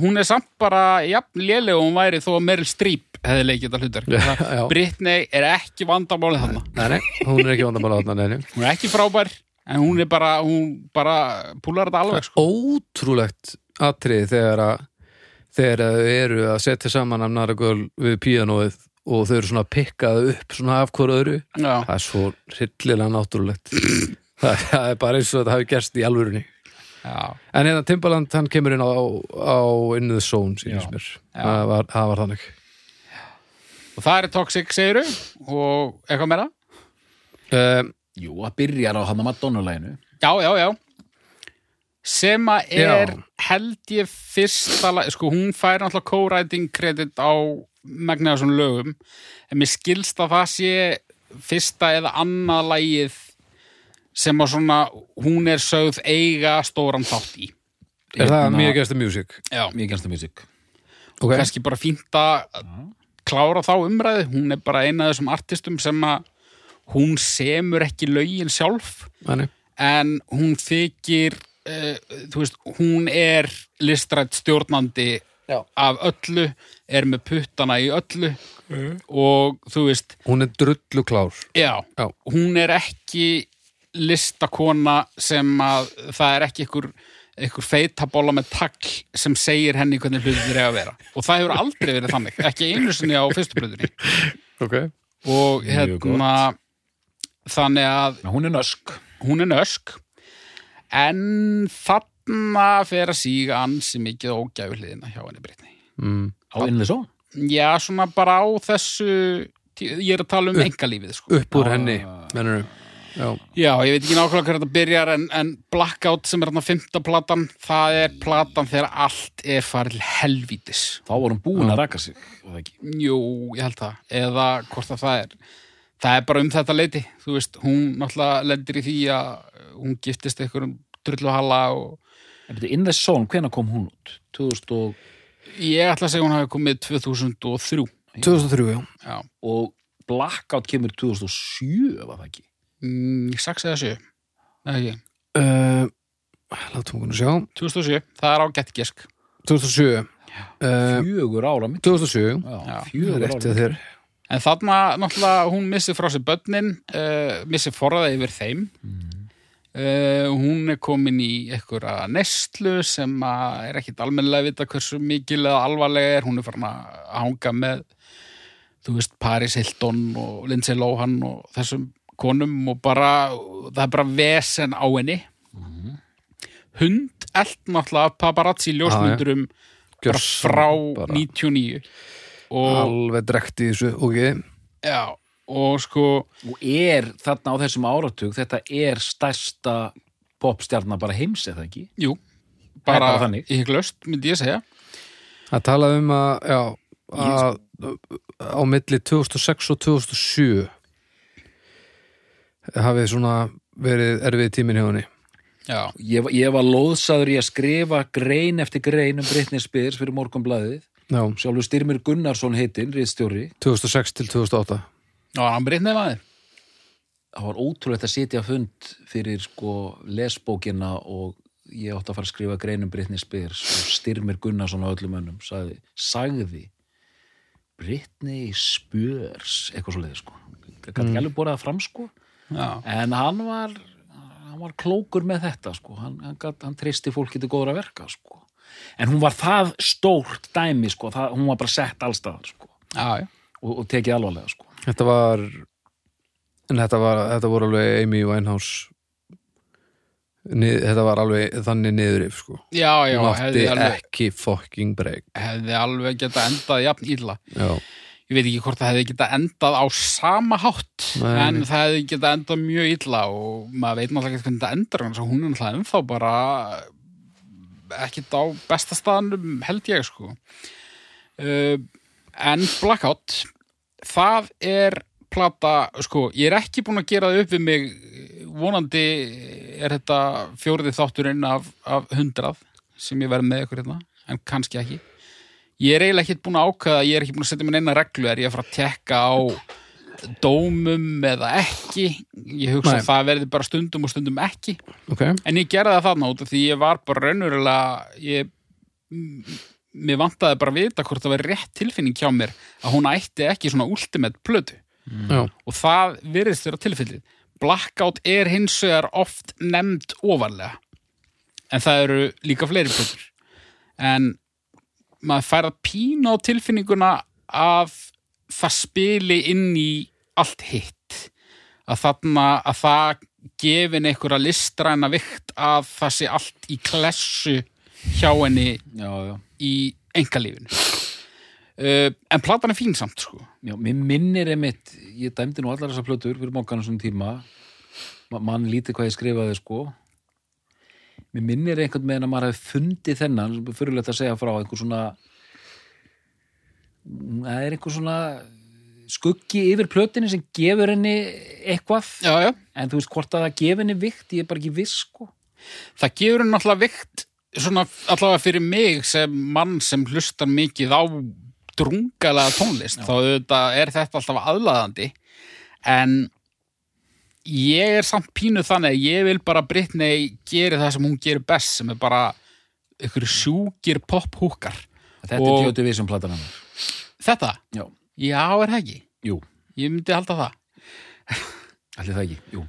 Speaker 3: hún er samt bara jafn léleg og hún væri þó að Meryl Streep hefði leikið þetta hlutur
Speaker 1: Já, já.
Speaker 3: Britney er ekki vandamálið þarna
Speaker 1: nei, nei, hún er ekki vandamála átna neinu
Speaker 3: Hún er ekki frábær en hún er bara, hún bara púlar þetta alveg sko.
Speaker 1: ótrúlegt atrið þegar að þegar að þau eru að setja saman amnara göl við píanóið og þau eru svona að pikka þau upp svona af hverju öðru
Speaker 3: Já.
Speaker 1: það er svo hryllilega náttúrulegt það, það er bara eins og þetta hafi gerst í alvörunni
Speaker 3: Já.
Speaker 1: En hérna Timbaland, hann kemur inn á, á In the Zone, sínist
Speaker 3: Já.
Speaker 1: mér
Speaker 3: Já.
Speaker 1: það var, það var þannig
Speaker 3: Og það er Toxic, segiru og eitthvað meira
Speaker 1: um,
Speaker 2: jú, það byrjar á hann að Madonna-læginu
Speaker 3: Já, já, já sem að er
Speaker 1: Já.
Speaker 3: held ég fyrsta lag, sko hún fær náttúrulega co-writing credit á megnaða svona lögum en mér skilst að það sé fyrsta eða annað lagið sem að svona hún er sögð eiga stóran þátt í
Speaker 1: Er það mjög gæsta music?
Speaker 3: Já,
Speaker 2: Hérna, mjög gænsta music
Speaker 1: Okay.
Speaker 3: Hérna- kannski bara fínt að klára þá umræði, hún er bara eina af þessum artistum sem að hún semur ekki lögin sjálf
Speaker 1: Þannig.
Speaker 3: en hún þykir uh, þú veist, hún er listrætt stjórnandi
Speaker 1: Já.
Speaker 3: af öllu, er með puttana í öllu
Speaker 1: Mhm.
Speaker 3: og þú veist,
Speaker 1: Hún er drullu klár
Speaker 3: já,
Speaker 1: Já.
Speaker 3: hún er ekki listakona sem að það er ekki ykkur ykkur feitabóla með tagl sem segir henni hvernig hlutir er að vera og það hefur aldrei verið þannig, ekki einu sinni á fyrstu bröðunni
Speaker 1: okay.
Speaker 3: og
Speaker 2: Mjög
Speaker 3: hérna þannig að
Speaker 2: Ná, hún er nösk
Speaker 3: hún er nösk en þarna fer að síga ansi mikið ógæfu hliðina hjá henni Brittany
Speaker 1: mm.
Speaker 2: á innlega svo
Speaker 3: já, svona bara á þessu tí- ég er að tala um engalífið sko.
Speaker 1: Upp úr henni, mennur Já,
Speaker 3: já, ég veit ekki nákvæmlega hvernig þetta byrjar en, en Blackout sem er hann að fymta platan það er platan þegar allt er farið til helvítis
Speaker 2: þá var hún búin að raka sig var það ekki?
Speaker 3: jú, ég held það eða hvort að það er það er bara um þetta leiti uh, þú veist, hún náttúrulega lendir í því að hún giftist einhverjum drulluhalla og
Speaker 2: En byrju, In the Zone, hvenær kom hún út? 2000 og,
Speaker 3: Ég ætla að segja að hún hafi komið 2003
Speaker 1: 2003, já.
Speaker 3: Já,
Speaker 2: og Blackout kemur 2007, var það ekki?
Speaker 3: mm, 6 eða 7 Nei, ekki,
Speaker 1: Uh, látum okkur nú sjá.
Speaker 3: 2007, það er ágætt gisk
Speaker 1: 2007. Uh,
Speaker 2: Fjögur ára mitt.
Speaker 1: 2007.
Speaker 2: Já,
Speaker 3: Já,
Speaker 1: Það
Speaker 2: fjögur
Speaker 1: er
Speaker 2: ára
Speaker 1: réttið þér.
Speaker 3: En þarna, náttúrulega, hún missir frá sér börnin, uh, missir forða yfir þeim. Uh, hún er komin í einhverja neyslu sem að er ekkit almennilega vita hversu mikil eða alvarlega er. Hún er farin að hanga með, þú veist, Paris Hilton og Lindsay Lohan og þessum konum og bara, það er bara vesen á henni. Hund, eld náttúrulega, af paparazzi ljósmyndurum bara frá
Speaker 1: bara.
Speaker 3: 99 og
Speaker 1: Alveg drekt í þessu, ok.
Speaker 3: Já, og sko
Speaker 2: Og er þarna á þessum áratug, þetta er stærsta popstjarnar bara heims, eða ekki?
Speaker 3: Jú,
Speaker 2: Það er bara
Speaker 3: bara
Speaker 2: þannig.
Speaker 3: hygglöst, myndi ég segja
Speaker 1: Það talaði um að, já, að á milli 2006 og 2007 hafið svona verið erfið tíminn hjá henni.
Speaker 3: Já,
Speaker 2: Ég, var- ég var loðsaður í að skrifa grein eftir grein um Britney Spears fyrir morgunblæðið.
Speaker 1: Já,
Speaker 2: Sjálfur Styrmir Gunnarsson heitinn, riðstjóri.
Speaker 1: 2006 til 2008.
Speaker 3: Ná, hann breytnaði maður
Speaker 2: Það var ótrúlegt að sitja að fund fyrir sko lesbókina og ég átti að fara að skrifa grein um Britney Spears og Styrmir Gunnarsson á öllum önnum sagði, sagði Britney Spears eitthvað svo leiði sko. Gat ekki alveg borað það fram sko.
Speaker 3: Já,
Speaker 2: En hann var, hann var klókur með þetta, sko. Hann, hann, gat, hann treysti fólki til góðra verka, sko. En hún var það stórt dæmi, sko. Það, hún var bara sett allstaðar, sko.
Speaker 3: já, já,
Speaker 2: Og, og tekið alvarlega, sko.
Speaker 1: Þetta var, en þetta var, þetta voru alveg Amy Winehouse, Nið, þetta var alveg þannig niðurif, sko.
Speaker 3: já, já
Speaker 1: Hún
Speaker 3: hefði,
Speaker 1: átti
Speaker 3: alveg,
Speaker 1: ekki fucking break.
Speaker 3: hefði alveg geta endað jafn illa
Speaker 1: Já,
Speaker 3: Ég veit ekki hvort það hefði geta endað á sama hátt
Speaker 1: Nei.
Speaker 3: En það hefði geta endað mjög illa Og maður veit náttúrulega ekki hvernig það endar Þannig að hún er náttúrulega ennþá bara Ekkit á besta staðanum held ég sko uh, En Blackout það er plata, sko, ég er ekki búin að gera það upp við mig, vonandi er þetta fjórði þátturinn af, af hundrað sem ég verð með ykkur hérna, en kannski ekki ég er eiginlega ekki búin að ákveða ég er ekki búin að setja mér neina reglu, er ég að fara að tekka á dómum eða ekki, ég hugsa
Speaker 1: Nei.
Speaker 3: að það verði bara stundum og stundum ekki
Speaker 1: ok.
Speaker 3: en ég gerði það þarna út af því ég var bara raunverulega ég, m- mér vantaði bara að vita hvort það var rétt tilfinning hjá mér að hún ætti ekki svona ultimate plötu
Speaker 1: Já,
Speaker 3: og það virðist vera tilfellið Blackout er hins vegar oft nefnd ofarlega en það eru líka fleiri plötur en maður fær að pína á tilfinninguna að það spili inn í allt hitt að þarna að það gefin einhverja listræna vikt að það sé allt í klessu hjá henni
Speaker 2: Já, já.
Speaker 3: í engalífinu uh, en platan er fín samt sko
Speaker 2: Já, mér minnir einmitt, ég dæmdi nú allar þessar plötur fyrir mokkanum svona tíma. Ma, mann lítið hvað ég skrifaði, sko. Mér minnir einhvern veginn að maður hefði fundið þennan, fyrirlegt að segja frá einhver svona, það er einhver svona skuggi yfir plötinni sem gefur henni eitthvað.
Speaker 3: já, já.
Speaker 2: En þú veist hvort að það gefi henni vikt, ég er bara ekki viss, sko.
Speaker 3: það gefur henni alltaf vikt svona allavega fyrir mig sem mann sem hlustar mikið á drungalega tónlist þá auðvitað er þetta alltaf aðlaðandi en ég er samt pínu þannig að ég vil bara Britney geri það sem hún gerir best sem er bara ykkur sjúkir pophúkar
Speaker 2: Þetta
Speaker 3: Og-
Speaker 2: er djóti við sem platan hennar.
Speaker 3: þetta,
Speaker 2: Já.
Speaker 3: já er það ekki
Speaker 2: Jú,
Speaker 3: ég myndi halda það
Speaker 2: allir það ekki, jú.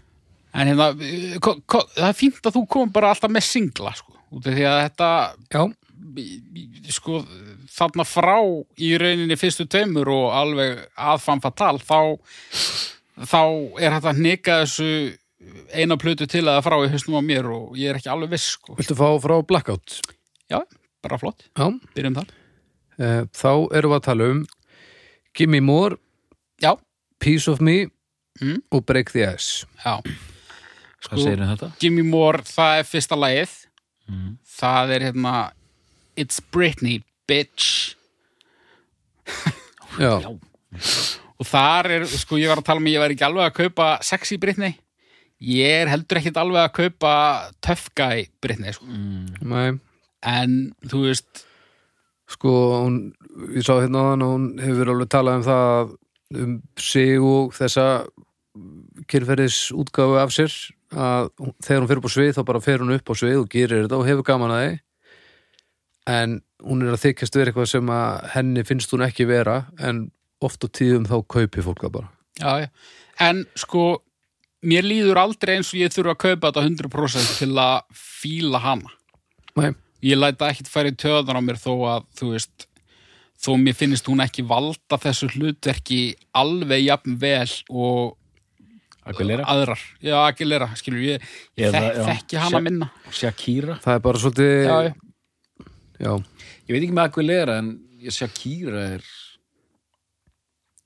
Speaker 3: en hérna, eh, ko- ko- það er fínt að þú kom bara alltaf með singla sko, út af því að þetta
Speaker 1: já,
Speaker 3: sko, þarna frá í rauninni fyrstu tveimur og alveg aðfam fatal þá, þá er hægt að hnika þessu eina plötu til að frá í hausnum á mér og ég er ekki alveg viss sko.
Speaker 1: viltu fá frá Blackout?
Speaker 3: Já, bara flott,
Speaker 1: Já,
Speaker 3: byrjum þar
Speaker 1: Eh, þá erum við að tala um Gimme More,
Speaker 3: Já,
Speaker 1: Piece of Me
Speaker 3: Mm.
Speaker 1: og Break the Ice
Speaker 3: já, Sko-
Speaker 2: Hvað segir henni þetta?
Speaker 3: Gimme More, það er fyrsta lagið
Speaker 2: Mm.
Speaker 3: það er hérna It's Britney, bitch
Speaker 1: Já,
Speaker 2: Já.
Speaker 3: og þar er, sko, ég var að tala um að ég væri ekki alveg að kaupa sexy Britney ég er heldur ekkit alveg að kaupa tough guy Britney sko.
Speaker 1: Nei,
Speaker 3: en þú veist
Speaker 1: sko, hún, ég sá hérna á hann og hún hefur alveg talað um það um sig og þessa kyrferðis útgáfu af sér að hún, þegar hún fer upp á svið þá bara fer hún upp á svið og gerir þetta og hefur gaman að þið en hún er að þykjast vera eitthvað sem að henni finnst hún ekki vera en oft á tíðum þá kaupi fólk það bara
Speaker 3: já, já. en sko mér líður aldrei eins og ég þurfa að kaupa þetta 100% til að fíla hana
Speaker 1: Nei,
Speaker 3: ég læta ekkit færi töðan á mér þó að þú veist þó mér finnst hún ekki valda þessu hlutverki alveg jafn vel og
Speaker 2: Aguilera,
Speaker 3: aðrar, já Aguilera skilur ég, ég
Speaker 2: Eða,
Speaker 3: þek,
Speaker 2: já.
Speaker 3: þekki hana
Speaker 2: Sha-
Speaker 3: minna
Speaker 2: Shakira
Speaker 1: það er bara svolítið
Speaker 3: já, já.
Speaker 1: já.
Speaker 2: ég veit ekki með Aguilera en Shakira er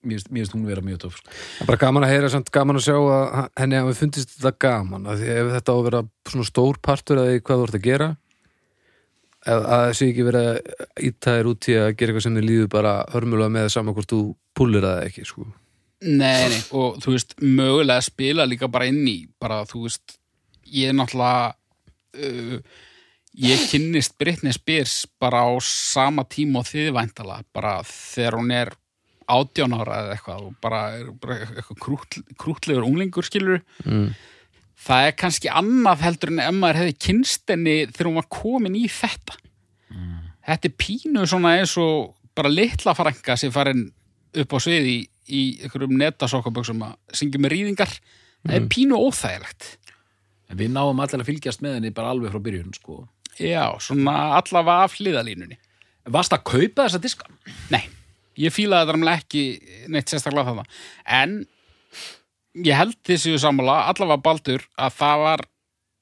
Speaker 2: mér finnst- mér finnst hún vera mjög töf sko.
Speaker 1: Það er bara gaman að heyra samt gaman að sjá að henni hafi fundist þetta gaman að því ef þetta á að vera svona stór partur að því hvað þú ert að gera að að það sé ekki verið að íta þér út í að gera eitthvað sem þið líður bara hörmulega með saman hvort þú púlir það ekki sko.
Speaker 3: Nei, nei, og þú veist, mögulega spila líka bara inn í, bara þú veist, ég er náttúrulega, uh, ég kynnist Britney Spears bara á sama tíma og þið væntala, bara þegar hún er átján ára eða eitthvað og bara er bara eitthvað krútl, krútlegur unglingur skilur.
Speaker 1: mm.
Speaker 3: Það er kannski annað heldur en ef maður hefði kynst henni þegar hún var komin í þetta. Þetta er pínu svona eins og bara litla frænka sem farin upp á sviði í, í einhverjum netasokkaböksum að syngja með rýðingar. Það er pínu óþægilegt.
Speaker 2: en við náum allir að fylgjast með henni bara alveg frá byrjun sko.
Speaker 3: Já, svona allavega af hliðalínunni.
Speaker 2: varst að kaupa þessa diska?
Speaker 3: Nei, ég fílaði þetta náttúrulega ekki neitt sérstaklega þarna. En ég held þessu sammála, allavega Baldur, að það var,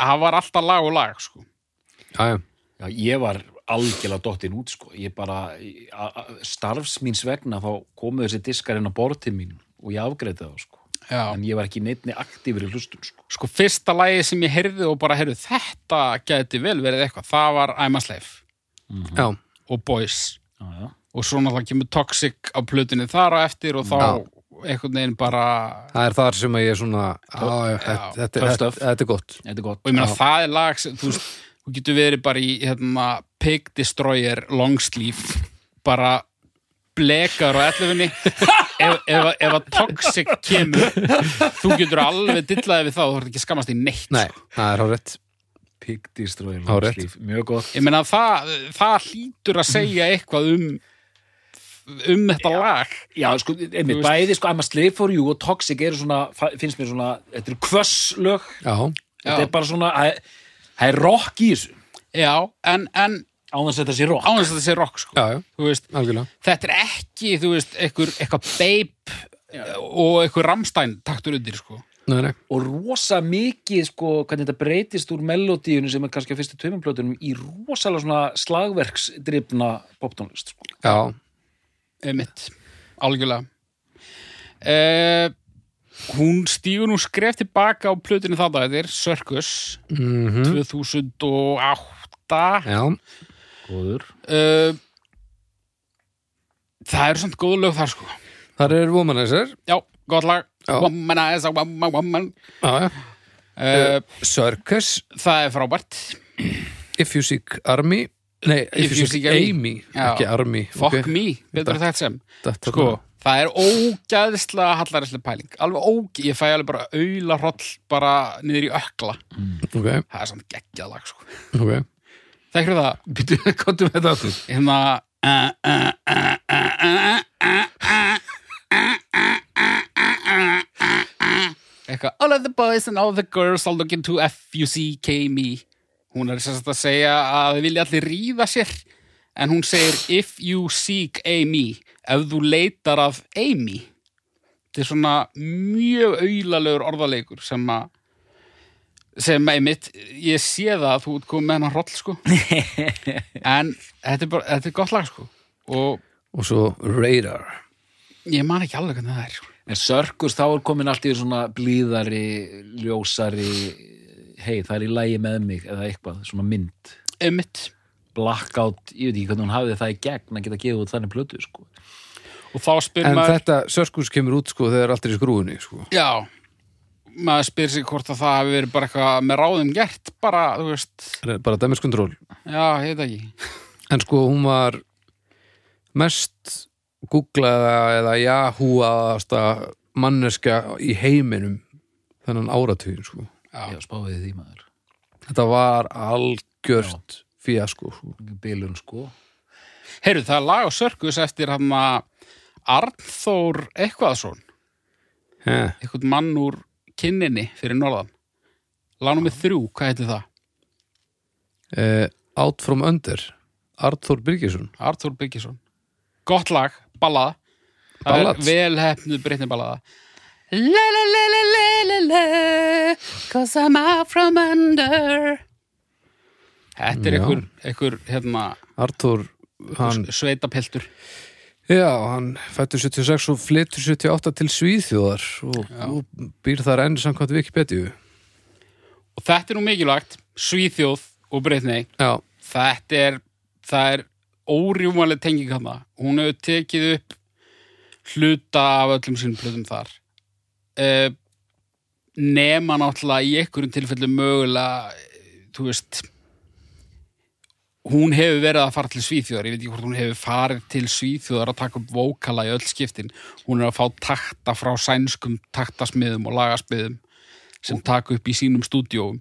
Speaker 3: það var alltaf lag og lag, sko.
Speaker 1: Já, já.
Speaker 2: Já, ég var algjörlega dottin út sko. ég bara, a- a- starfs míns vegna þá komu þessi diskar inn á bortið mín og ég afgreiti þá sko.
Speaker 3: Já.
Speaker 2: en ég var ekki neittni aktífur í hlustun sko.
Speaker 3: sko fyrsta lagi sem ég heyrði og bara heyrði þetta gæti vel verið eitthvað það var I'm a Slave
Speaker 1: já,
Speaker 3: og Boys
Speaker 2: já, já.
Speaker 3: og svo náttúrulega kemur Toxic á plötunni þar á eftir og þá einhvern veginn bara
Speaker 1: það er þar sem að ég er svona á, já, þetta, þetta,
Speaker 2: Tough
Speaker 1: þetta,
Speaker 2: stuff.
Speaker 1: þetta er gott
Speaker 2: þetta er gott
Speaker 3: og ég meina
Speaker 2: já.
Speaker 3: það er lag sem þú, veist, þú getur verið bara í hérna, Pig Destroyer Longsleeve bara blekar á ellefinni ef, ef, ef að Toxic kemur þú getur alveg dillaði við það og þú ert ekki að skammast í neitt sko.
Speaker 1: Nei, það er há rétt
Speaker 2: Pig Destroyer
Speaker 1: Á, rétt.
Speaker 2: Longstreet. mjög gott
Speaker 3: ég meina það, það hlýtur að segja eitthvað um um þetta lag
Speaker 2: já, sko, einmitt,
Speaker 3: Þú veist-
Speaker 2: bæði sko, I'm a slave for you og Toxic eru svona, fa- finnst mér svona þetta eru kvöss lög
Speaker 1: Já,
Speaker 2: þetta er bara svona, það er- það er rock í þessu
Speaker 3: já, en, en
Speaker 2: á þess að þetta sé rock
Speaker 3: ánægst að þetta sé rock sko.
Speaker 1: já, já,
Speaker 3: Þú veist,
Speaker 1: algjörlega
Speaker 3: þetta er ekki þú veist, einhver, eitthvað babe og eitthvað Rammstein taktur undir sko.
Speaker 1: Nei, nei,
Speaker 2: og rosa mikið sko hvernig þetta breytist úr melodíunum sem er kannski á fyrstu tveimumplötunum í rosalega svona slagverksdrifna poptónlist sko.
Speaker 1: já,
Speaker 3: emitt, algjörlega eh, hún stígur nú skref tilbaka á plötinu þarna þetta er Circus
Speaker 1: mm
Speaker 3: 2008
Speaker 1: já
Speaker 2: Góður.
Speaker 3: Eh, það eru samt góð lög þar sko
Speaker 1: Þar er Womanizer
Speaker 3: Já, gott lag
Speaker 1: Já.
Speaker 3: Womanizer, woman, woman.
Speaker 1: já, já. Eh.
Speaker 3: Uh,
Speaker 1: Circus
Speaker 3: Það er frábært
Speaker 1: If You Seek Army Nei, If, You Seek Amy,
Speaker 3: Já.
Speaker 1: ekki Army
Speaker 3: Fuck
Speaker 1: ok?
Speaker 3: me, betur þetta sem
Speaker 1: Þetta-
Speaker 3: Sko, það er ógæðslega hallaræslega pæling Alveg óg, ég fæ alveg bara auðla hroll bara niður í ökla
Speaker 1: Ok,
Speaker 3: Það er samt geggjað lag, sko
Speaker 1: ok
Speaker 3: Þekkir það,
Speaker 1: Býtu, komdu með þetta aftur
Speaker 3: hérna uh, uh, uh, uh, uh, eitthvað All of the boys and all the girls are looking to F-U-C-K me Hún er sérst að segja að þið vilja allir ríða sér en hún segir If you seek Amy ef þú leitar af Amy Þetta er svona mjög auðalegur orðalegur sem að sem einmitt, ég sé það að þú ert komið með hennar hroll sko en þetta er, bara, þetta er gott lag sko og
Speaker 1: Og svo Radar
Speaker 3: ég man ekki alveg hvernig það er sko.
Speaker 2: en Sörkus þá er komin allt í svona blíðari, ljósari hei það er í lægi með mig eða eitthvað, svona mynd
Speaker 3: einmitt
Speaker 2: blackout, ég veit ekki hvernig hún hafði það í gegn að geta gefið út þannig plötu sko.
Speaker 3: og þá spyr
Speaker 1: En
Speaker 3: maður
Speaker 1: þetta, Sörskurs kemur út sko þegar allt er í skrúinu sko
Speaker 3: já, maður spyr sig hvort að það hafi verið bara eitthvað með ráðum gert bara, þú veist,
Speaker 1: bara damage control
Speaker 3: já, heita ekki
Speaker 1: en sko hún var mest googlaða eða yahooaðasta manneska í heiminum þennan áratugin sko
Speaker 3: já,
Speaker 2: Já, spáðið því maður.
Speaker 1: þetta var algjört fíasko sko.
Speaker 2: Bilun sko.
Speaker 3: heyrðu, það er lag á sörkus eftir hann að Arnþór eitthvaðsson
Speaker 1: He,
Speaker 3: eitthvað mann úr kinninni fyrir norðan lánum við þrjú, hvað heitir það?
Speaker 1: eh, Out from Under Arthur Birgisson
Speaker 3: Arthur Byggisson gott lag, ballað það
Speaker 1: Ballad.
Speaker 3: er vel hefnuð breytni ballaða la la la la la la la cause I'm out from under þetta er
Speaker 1: Já.
Speaker 3: einhver, einhver hérna,
Speaker 1: Arthur, hann,
Speaker 3: sveitapeltur
Speaker 1: já, hann fættur 76 og flyttur 78 til Svíþjóðar og, og býr þar enn samkvæmt Wikipedia
Speaker 3: og þetta er nú mikilvægt, Svíþjóð og breytni,
Speaker 1: já,
Speaker 3: þetta er það er órjúmaleg tenging hann hún hefur tekið upp hluta af öllum sínum plöðum þar uh, nema náttúrulega í einhverjum tilfellum mögulega eh, þú veist hún hefur verið að fara til Svíþjóðar ég veit ekki hvort hún hefur farið til Svíþjóðar að taka upp vókala í öll skiptin hún er að fá takta frá sænskum taktasmiðum og lagasmiðum sem taka upp í sínum stúdíóum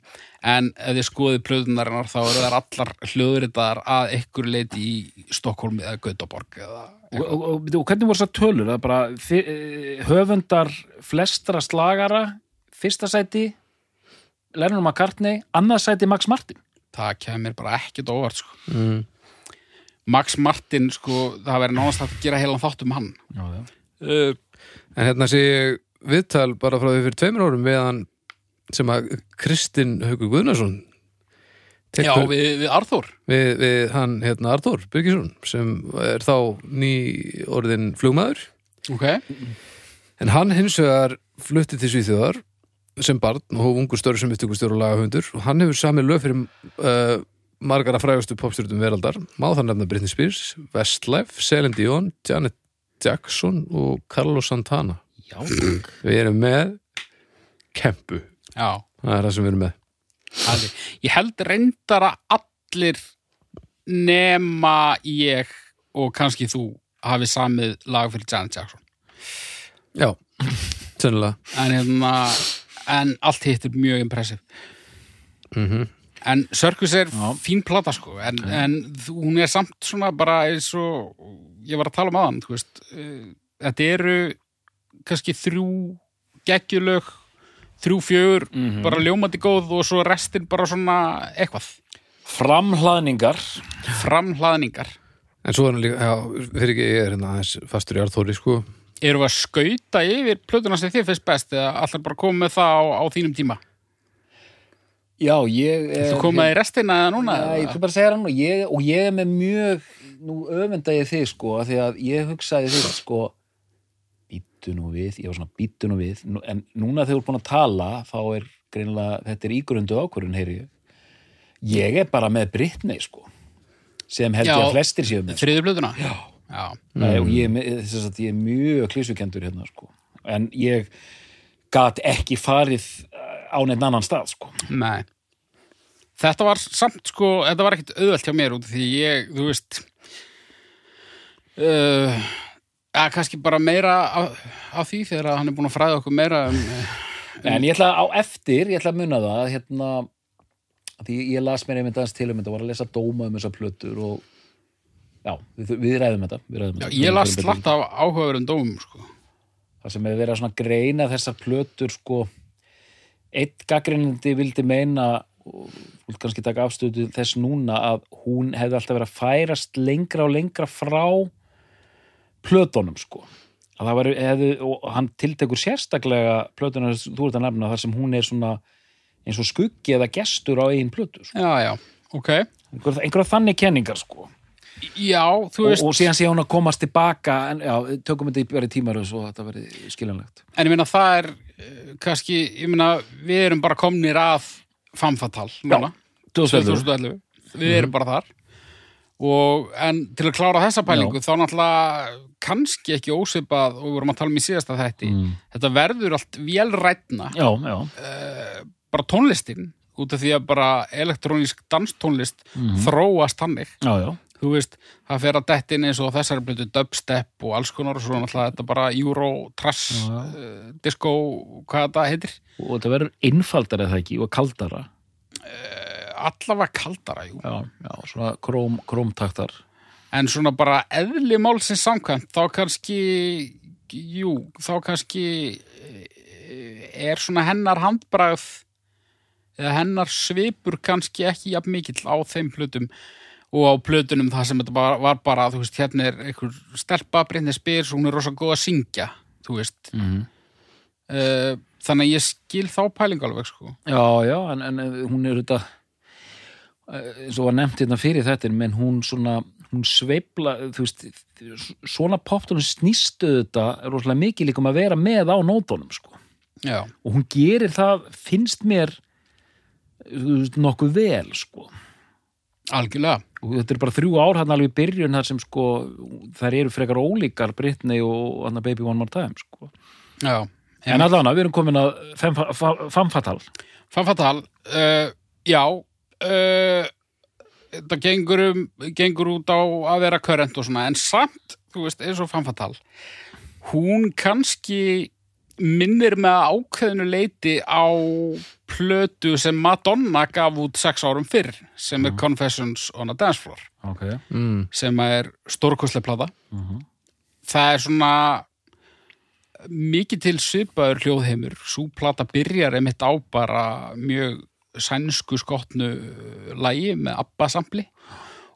Speaker 3: en ef þið skoðið plöðunarinnar þá eru þær allar hljóðritaðar að einhver leiti í Stokkólmi eða Göteborg eða
Speaker 2: Og, og, og, og hvernig voru þessar tölur? Það er bara fyr, eh, höfundar flestra slagara, fyrsta sæti, Lennon McCartney, annað sæti Max Martin.
Speaker 3: það kemur bara ekkert á óvart sko.
Speaker 1: mm.
Speaker 3: Max Martin, sko, það verður nánast hægt að gera heilan þátt um hann
Speaker 2: Já, já.
Speaker 3: uh,
Speaker 1: En hérna sé ég viðtal bara frá því fyrir tveimur árum við hann sem að Kristinn Haukur Guðnarsson
Speaker 3: Já,
Speaker 1: tekur
Speaker 3: við, við Arþór
Speaker 1: við, við hann hérna Arthur Byrgisson sem er þá ný orðin flugmaður
Speaker 3: okay.
Speaker 1: en hann hins vegar flutti til Svíþjóðar sem barn og hóf ungu störu sem upptökustjóru og lagahundur og hann hefur samið lög fyrir uh, margara frægustu popstjórnum veraldar má það nefna Britney Spears, Westlife, Celine Dion, Janet Jackson og Carlos Santana
Speaker 2: Já,
Speaker 1: Við erum með kempu
Speaker 3: Já,
Speaker 1: Það er það sem við erum með.
Speaker 3: allir. ég held reyndar að allir nema ég og kannski þú hafi samið lag fyrir Janet Jackson
Speaker 1: Já, sennilega.
Speaker 3: en, hérna, en allt hitt er mjög impressiv
Speaker 1: Mm
Speaker 3: En Sörkus er
Speaker 2: Já.
Speaker 3: fín plata sko en, en þú- hún er samt svona bara eins og ég var að tala um aðan þú veist, eh, þetta eru kannski þrjú geggjulög, þrjú fjögur
Speaker 2: Mhm.
Speaker 3: bara ljómandi góð og svo restin bara svona eitthvað
Speaker 2: framhlaðningar
Speaker 3: framhlaðningar.
Speaker 1: En svo er hann líka, já, fyrir ekki, ég er hérna aðeins fastur í Arþóri, sko.
Speaker 3: Eru að skauta yfir plötuna sem þér finnst best eða allar bara koma með það á, á þínum tíma?
Speaker 2: Já, Eh, ég er
Speaker 3: Þú koma í restina eða núna?
Speaker 2: Nei, ég
Speaker 3: eða?
Speaker 2: ætla bara að segja hann og ég, og ég er með mjög, nú öfunda ég þig sko, af því að ég hugsaði þig sko, býttu nú við, ég var svona býttu nú við, nú- en núna þegar þú er búin að tala, þá er greinilega, þetta er ígrundu ákvörðun, heyri ég. Ég er bara með Britney sko, sem held ég
Speaker 3: Já.
Speaker 2: að flestir séu með. Sko.
Speaker 3: Þriðju plötuna? Já. Já.
Speaker 2: Nei, og ég, er með- þess að ég er mjög klísukendur hérna sko, en ég gat ekki farið eh, á neitt annan stað sko.
Speaker 3: Nei. Þetta var samt sko, þetta var ekkert auðvelt hjá mér út af því ég, þú veist uh, að kannski bara meira af, af því þegar að hann er búin að fræða okkur meira um,
Speaker 2: Nei, En ég ætla á eftir, ég ætla að muna það hérna, því ég las mér einmitt aðeins til um þetta, var að lesa dóma um þessar plötur og já, við, við ræðum þetta, við ræðum
Speaker 3: já,
Speaker 2: þetta.
Speaker 3: ég las slatt af áhugaverum dómum sko.
Speaker 2: Það sem hefur verið að svona greina þessar plötur sko, eitt gaggrinandi vildi meina og vilt kannski taka afstöðu þess núna að hún hefði alltaf verið að færast lengra og lengra frá plötunum sko að það var, hefði, og hann tiltekur sérstaklega plötuna sem þú ert að nefna þar sem hún er svona eins og skuggi eða gestur á eigin plötu sko.
Speaker 3: Já, já, ok
Speaker 2: einhverja, einhverja þannig kenningar sko
Speaker 3: Já, þú
Speaker 2: og,
Speaker 3: veist,
Speaker 2: og síðan sé hún að komast tilbaka en já, tökum þetta í verið tímaröðs og þetta verið skiljanlegt
Speaker 3: en ég meina það er eh, kannski, ég meina við erum bara komnir að fanfatal núna, 2011 við erum bara þar og en til að klára þessa pælingu þá náttúrulega kannski ekki ósvipað og við vorum að tala um í síðasta þætti
Speaker 2: Mm.
Speaker 3: þetta verður allt velrætna
Speaker 2: Já, já.
Speaker 3: bara tónlistin út af því að bara elektrónísk danstónlist þróast hannig
Speaker 2: Já, já.
Speaker 3: þú veist, það fer að detti inn eins og þessar blötu dubstep og alls konar og svo náttúrulega þetta bara euro, trash,
Speaker 2: Já,
Speaker 3: uh, disco, hvað þetta heitir
Speaker 2: Og þetta verður einfaldar eða ekki og kaldara.
Speaker 3: Eh, allavega kaldara, jú
Speaker 2: Já, já. Svona króm, krómtaktar.
Speaker 3: en svona bara eðli málsins samkvæmt þá kannski, jú þá kannski eh, er svona hennar handbragð eða hennar svipur kannski ekki jafn mikill á þeim plötum og á plötunum það sem þetta bara, var bara þú veist, hérna er einhver stelpa Brynni Spears, hún er rosa góð að syngja þú veist,
Speaker 2: Mm.
Speaker 3: Eh, þannig að ég skil þá pælingu alveg sko
Speaker 2: Já, já, en, en eh, hún er þetta eh, eins og var nefnt hérna fyrir þetta menn hún svona, hún sveifla þú veist, svona poptunum snýstu þetta rosalega mikið líka um að vera með á nótunum, sko.
Speaker 3: já,
Speaker 2: og hún gerir það finnst mér þú veist, nokkuð vel sko.
Speaker 3: algjörlega
Speaker 2: og þetta er bara þrjú ár hann alveg í byrjun þar sem sko, þær eru frekar ólíkar Britney og hann Baby One More Time sko.
Speaker 3: já.
Speaker 2: en allan við erum komin að famfatal
Speaker 3: Fanfatal uh, já uh, þetta gengur, um, gengur út á að vera körrent og svona en samt, þú veist, eins og Fanfatal hún kannski minnir með ákveðinu leiti á plötu sem Madonna gaf út sex árum fyrr sem er Confessions on a Dance Floor
Speaker 2: ok
Speaker 1: mm.
Speaker 3: sem er stórkostlega plata
Speaker 2: mm
Speaker 3: það er svona mikið til svipaður hljóðheimur svo plata byrjar einmitt á bara mjög sænsku skottnu lægi með Abba sampli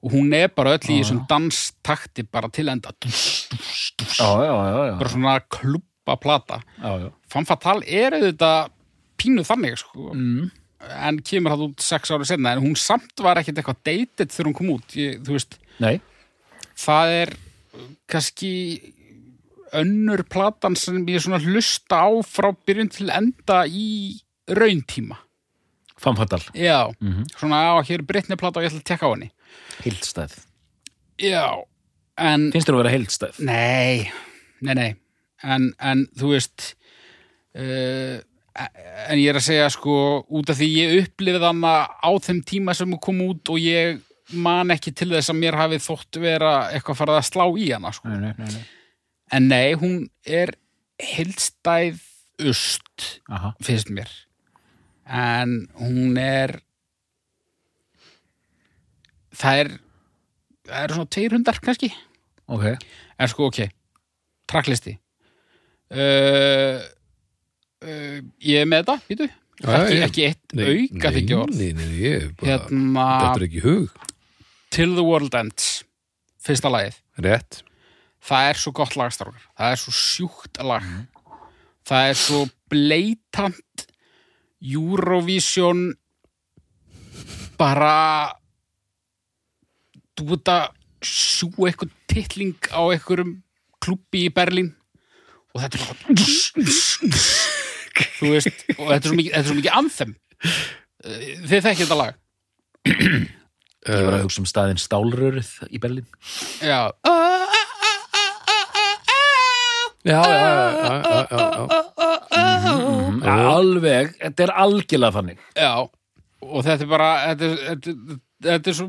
Speaker 3: og hún er bara öll í þessum danstakti bara til enda
Speaker 2: já, já, já, já.
Speaker 3: bara svona klubba plata
Speaker 2: já, já.
Speaker 3: Fanfatal er auðvitað pínu þannig sko
Speaker 2: Mm.
Speaker 3: en kemur það út sex ára senna en hún samt var ekkit eitthvað deytitt þegar hún kom út ég, þú veist,
Speaker 2: nei,
Speaker 3: það er uh, kannski önnur platan sem ég svona hlusta á frá byrjun til enda í rauntíma.
Speaker 2: famfatal
Speaker 3: Já,
Speaker 2: Mhm.
Speaker 3: svona á hér breytni plata og ég ætla að tekka á henni.
Speaker 2: heildstæð,
Speaker 3: Já, en
Speaker 2: finnst þér að vera heildstæð
Speaker 3: nei, nei, nei, en, en þú veist, uh, en ég er að segja sko út af því ég upplifið hana á þeim tíma sem hún kom út og ég man ekki til þess að mér hafi þótt vera eitthvað farið að slá í hana sko.
Speaker 2: nei, nei, nei, nei.
Speaker 3: En nei, hún er heildstæð ust,
Speaker 2: Aha.
Speaker 3: finnst mér. En hún er... Það er... Það eru svona tveir hundar, kannski.
Speaker 2: ok,
Speaker 3: En sko, ok. Trakklisti. Uh, uh, ég er með þetta, býtu.
Speaker 1: Já,
Speaker 3: Ekki,
Speaker 1: já.
Speaker 3: ekki eitt auka þykja orð.
Speaker 1: Nei, nei, nei, ég er bara,
Speaker 3: Hérna,
Speaker 1: þetta er ekki í hug
Speaker 3: Till the World Ends, fyrsta lagið.
Speaker 1: Rétt
Speaker 3: það er svo gott lagstrákar það er svo sjúkt lag það er svo bleitant Eurovision bara þú veit að sjú eitthvað titling á einhverjum klubbi í Berlín og þetta er bara þú veist og þetta er svo mikið, þetta er svo mikið anthem Eh, þið þekkið þetta lag
Speaker 2: ég var að hugsa um staðin stálröruð í Berlín
Speaker 3: já,
Speaker 1: Já, já, já, já, já, já, já.
Speaker 2: mm, alveg, þetta er algjörlega þannig
Speaker 3: Já, og þetta er bara þetta er, þetta, þetta er svo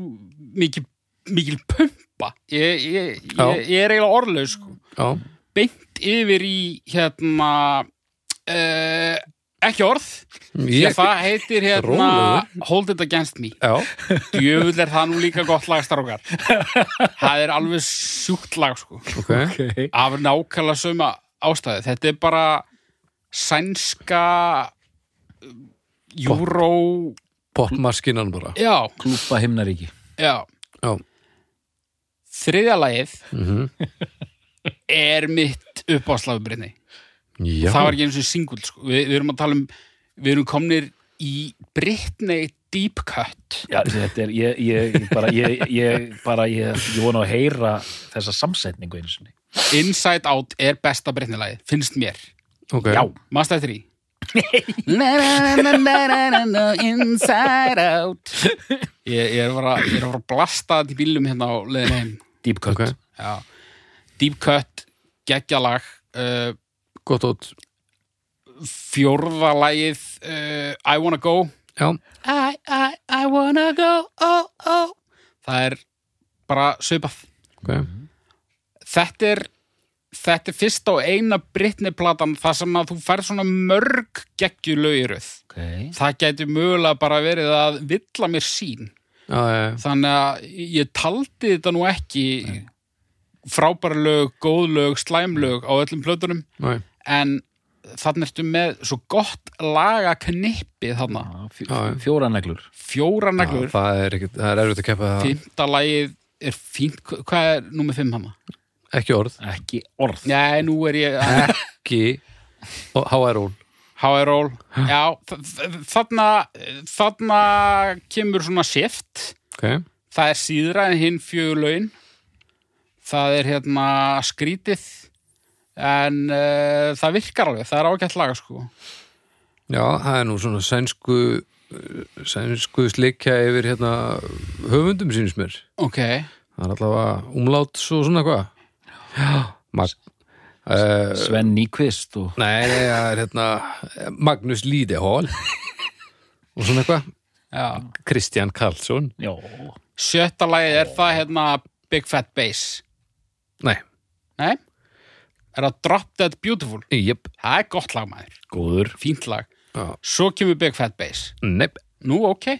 Speaker 3: mikil, mikil pumpa ég, ég,
Speaker 1: Já.
Speaker 3: ég, ég er eiginlega orðlaus sko.
Speaker 1: já.
Speaker 3: beint yfir í hérna uh, ekki orð því
Speaker 1: Ég,
Speaker 3: að það heitir hérna
Speaker 1: Rólegur.
Speaker 3: Hold It Against Me
Speaker 1: já,
Speaker 3: djöfull er það nú líka gott lagstrákar það er alveg sjúkt lag sko.
Speaker 1: ok
Speaker 2: okay.
Speaker 3: af nákvæmlega sömu ástæði þetta er bara sænska eh, júró
Speaker 1: Popmaskinan bara
Speaker 3: já,
Speaker 2: klúpa himnaríki
Speaker 3: já
Speaker 1: Já,
Speaker 3: þriðja lagið
Speaker 1: Mhm.
Speaker 3: er mitt uppáslagubrinni
Speaker 1: já.
Speaker 3: það var ekki eins og singul sko. við, við erum að tala um við erum komnir í Britney Deep Cut
Speaker 2: Já, þetta er, ég, ég bara, ég, ég, bara, ég, ég vona að heyra þessa samsetningu einu sinni.
Speaker 3: Inside Out er besta Britney lagið, finnst mér
Speaker 1: ok
Speaker 3: já, maður stæði þrý Na, na, na, na, na, na, na, Inside out Ég, ég er bara ég er bara að blasta þetta í bílum hérna á leiðin heim
Speaker 2: Deep cut.
Speaker 1: Ok.
Speaker 3: Já. Deep Cut, geggjalag uh,
Speaker 1: gott út
Speaker 3: fjórða lagið uh, I Wanna Go
Speaker 1: já,
Speaker 3: I, I, I wanna go oh, oh. Það er bara svipað
Speaker 1: ok,
Speaker 3: Þetta er þetta er fyrsta og eina Britney-platan þar sem að þú færð svona mörg geggjulauðiröð.
Speaker 2: Okay.
Speaker 3: Það gæti mögulega bara verið að villa mér sín.
Speaker 1: já, já, já.
Speaker 3: Þannig að ég taldi þetta nú ekki frábæra lög, góð lög, slæm lög á öllum plötunum
Speaker 1: Nei.
Speaker 3: en þannig ertu með svo gott laga knippið þarna,
Speaker 2: Já, fjó-
Speaker 1: Já, já.
Speaker 2: Fjóra neglur.
Speaker 3: fjóra
Speaker 1: Já,
Speaker 3: neglur
Speaker 1: það er, ekkit, það er erfitt að keppa það
Speaker 3: fymta lagið er fínt, Hva- hvað er númer fimm hana?
Speaker 1: ekki orð,
Speaker 2: Ekki orð.
Speaker 3: Nei, nú er ég
Speaker 1: ekki og HR-ól
Speaker 3: HR-ról Já, þ- þ- þarna þarna kemur svona shift
Speaker 1: okay.
Speaker 3: það er síðra en hinn fjögur lögin það er hérna skrítið en uh, það virkar alveg, það er ágætt laga sko
Speaker 1: já, það er nú svona sænsku eh, sænsku slikja yfir hérna höfundum sínst mér
Speaker 3: Ok,
Speaker 1: það er allavega umlátt svo svona hvað já, mag uh,
Speaker 2: Sven Nýkvist og
Speaker 1: nei, nei, það er hérna Magnus Lídehól og svona eitthvað
Speaker 3: já
Speaker 1: Kristján Karlsson
Speaker 2: já,
Speaker 3: Sjötta lagið er það hérna Big Fat Bass
Speaker 1: nei,
Speaker 3: Nei? Er það Drop Dead Beautiful?
Speaker 1: jöp,
Speaker 3: Það er gott lag maður,
Speaker 2: góður.
Speaker 3: fínt lag
Speaker 1: Já.
Speaker 3: Svo kemur Big Fat Bass
Speaker 1: nepp
Speaker 3: Nú, ok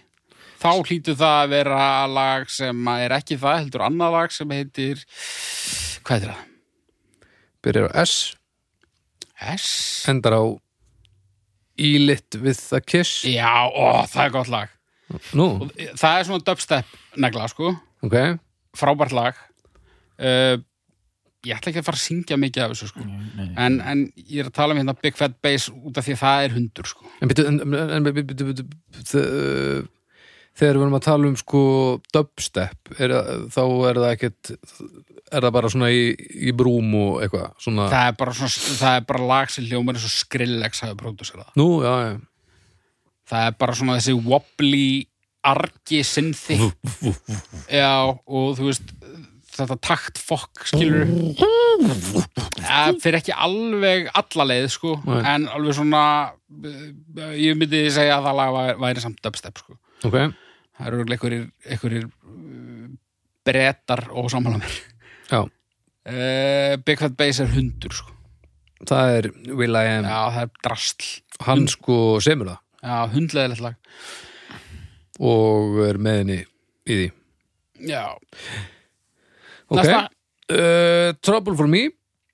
Speaker 3: Þá hlýtur það að vera lag sem að er ekki það, heldur annað lag sem heitir Hvað heitir það?
Speaker 1: byrjar á S
Speaker 3: S?
Speaker 1: endar á Ílitt við það kiss
Speaker 3: Já, ó, það er gott lag
Speaker 1: Nú,
Speaker 3: Það er svona dubstep negla, sko
Speaker 1: ok
Speaker 3: Frábært lag uh, Ég ætla ekki að fara að syngja mikið af þessu, sko
Speaker 2: Nei.
Speaker 3: en, en ég er að tala um hérna Big Fat Bass út af því að það er hundur, sko
Speaker 1: En byrju, en, en, en byrju, byrju, byrju, þe- Þegar við erum að tala um sko dubstep er, það- þá er það ekkert er það bara svona í, í brúm og eitthvað svona,
Speaker 3: Það er bara, svona, það er bara lag sem hljómar eins og Skrillex hafi pródusera það.
Speaker 1: nú, já, já
Speaker 3: Það er bara svona þessi wobbly argi sinnþi Já, og þú veist þetta takt fokk skilur Það fyrir ekki alveg alla leið sko,
Speaker 1: Nei.
Speaker 3: en alveg svona eh, ég myndi segja að það lag væri, væri samt dubstep sko.
Speaker 1: ok,
Speaker 3: Það eru örugglega einhverjir, einhverjir brettar og sammála mér
Speaker 1: já,
Speaker 3: uh, Big Fat Bass er hundur sko.
Speaker 1: það er Will I Am,
Speaker 3: Já, það er drastl Mm.
Speaker 1: hann sko semur það
Speaker 3: Já, hundleðilegt lag
Speaker 1: og er með henni í því
Speaker 3: Já,
Speaker 1: ok,
Speaker 3: Næsta.
Speaker 1: uh, Trouble for Me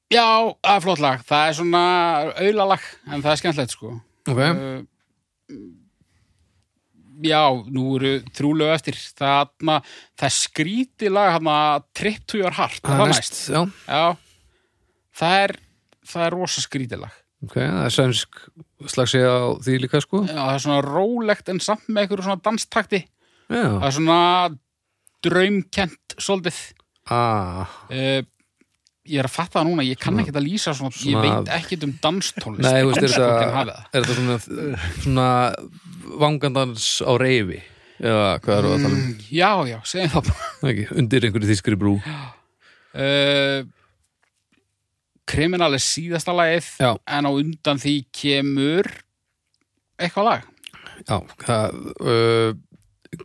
Speaker 3: já, það er flott lag Það er svona aulalag En það er skemmtilegt sko
Speaker 1: ok,
Speaker 3: uh, Já, nú eru þrjúlegu eftir Þarna, það er skrítið lag Þarna, Trip to your heart
Speaker 1: það er næst já,
Speaker 3: Já, það er Það er rosa skrítið lag
Speaker 1: ok, það er sænsk slags ég á því líka sko
Speaker 3: Já, það er svona rólegt en samt með einhverju svona danstakti Það
Speaker 1: já,
Speaker 3: er svona draumkent svolítið
Speaker 1: ah
Speaker 3: Uh, ég er að fatta það núna, ég kann ekki að lýsa svona,
Speaker 1: Svona-
Speaker 3: ég veit ekkit um danstólist
Speaker 1: Nei, þú veist, er
Speaker 3: Andskotinn
Speaker 1: þetta,
Speaker 3: hafi það.
Speaker 1: er þetta svona, svona vangandans á reyfi? Já, hvað eru að tala um?
Speaker 3: Mm, Já, já, segjum það bara
Speaker 1: Mm. Ekki, undir einhverju þýskri brú.
Speaker 3: uh, Kriminal er síðasta lagið
Speaker 1: Já.
Speaker 3: en á undan því kemur eitthvað lag
Speaker 1: Já, það, uh,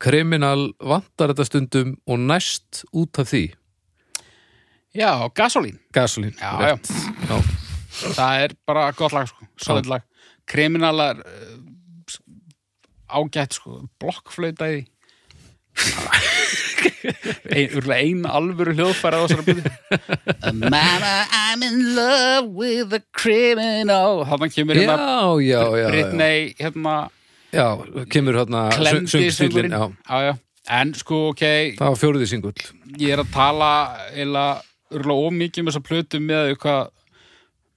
Speaker 1: kriminal vantar þetta stundum og næst út af því.
Speaker 3: Já, Gasolín,
Speaker 1: Gasolín.
Speaker 3: Já,
Speaker 1: já. Já,
Speaker 3: það er bara gott lag sko, solid lag Kriminal er uh, ágætt sko, blokkflauta í ein, Úrlega ein alvöru hljóðfæra á þessari byrði Mama, I'm in love with a criminal Þannig kemur
Speaker 1: já,
Speaker 3: hérna
Speaker 1: já, já. já.
Speaker 3: Britney hérna
Speaker 1: Já, kemur hérna
Speaker 3: klemdi
Speaker 1: söngstílinn. Já,
Speaker 3: söngurinn já, já. En sko, ok,
Speaker 1: það var fjóruði singull.
Speaker 3: ég er að tala eila örgulega ómikið um þessa plötu með því hvað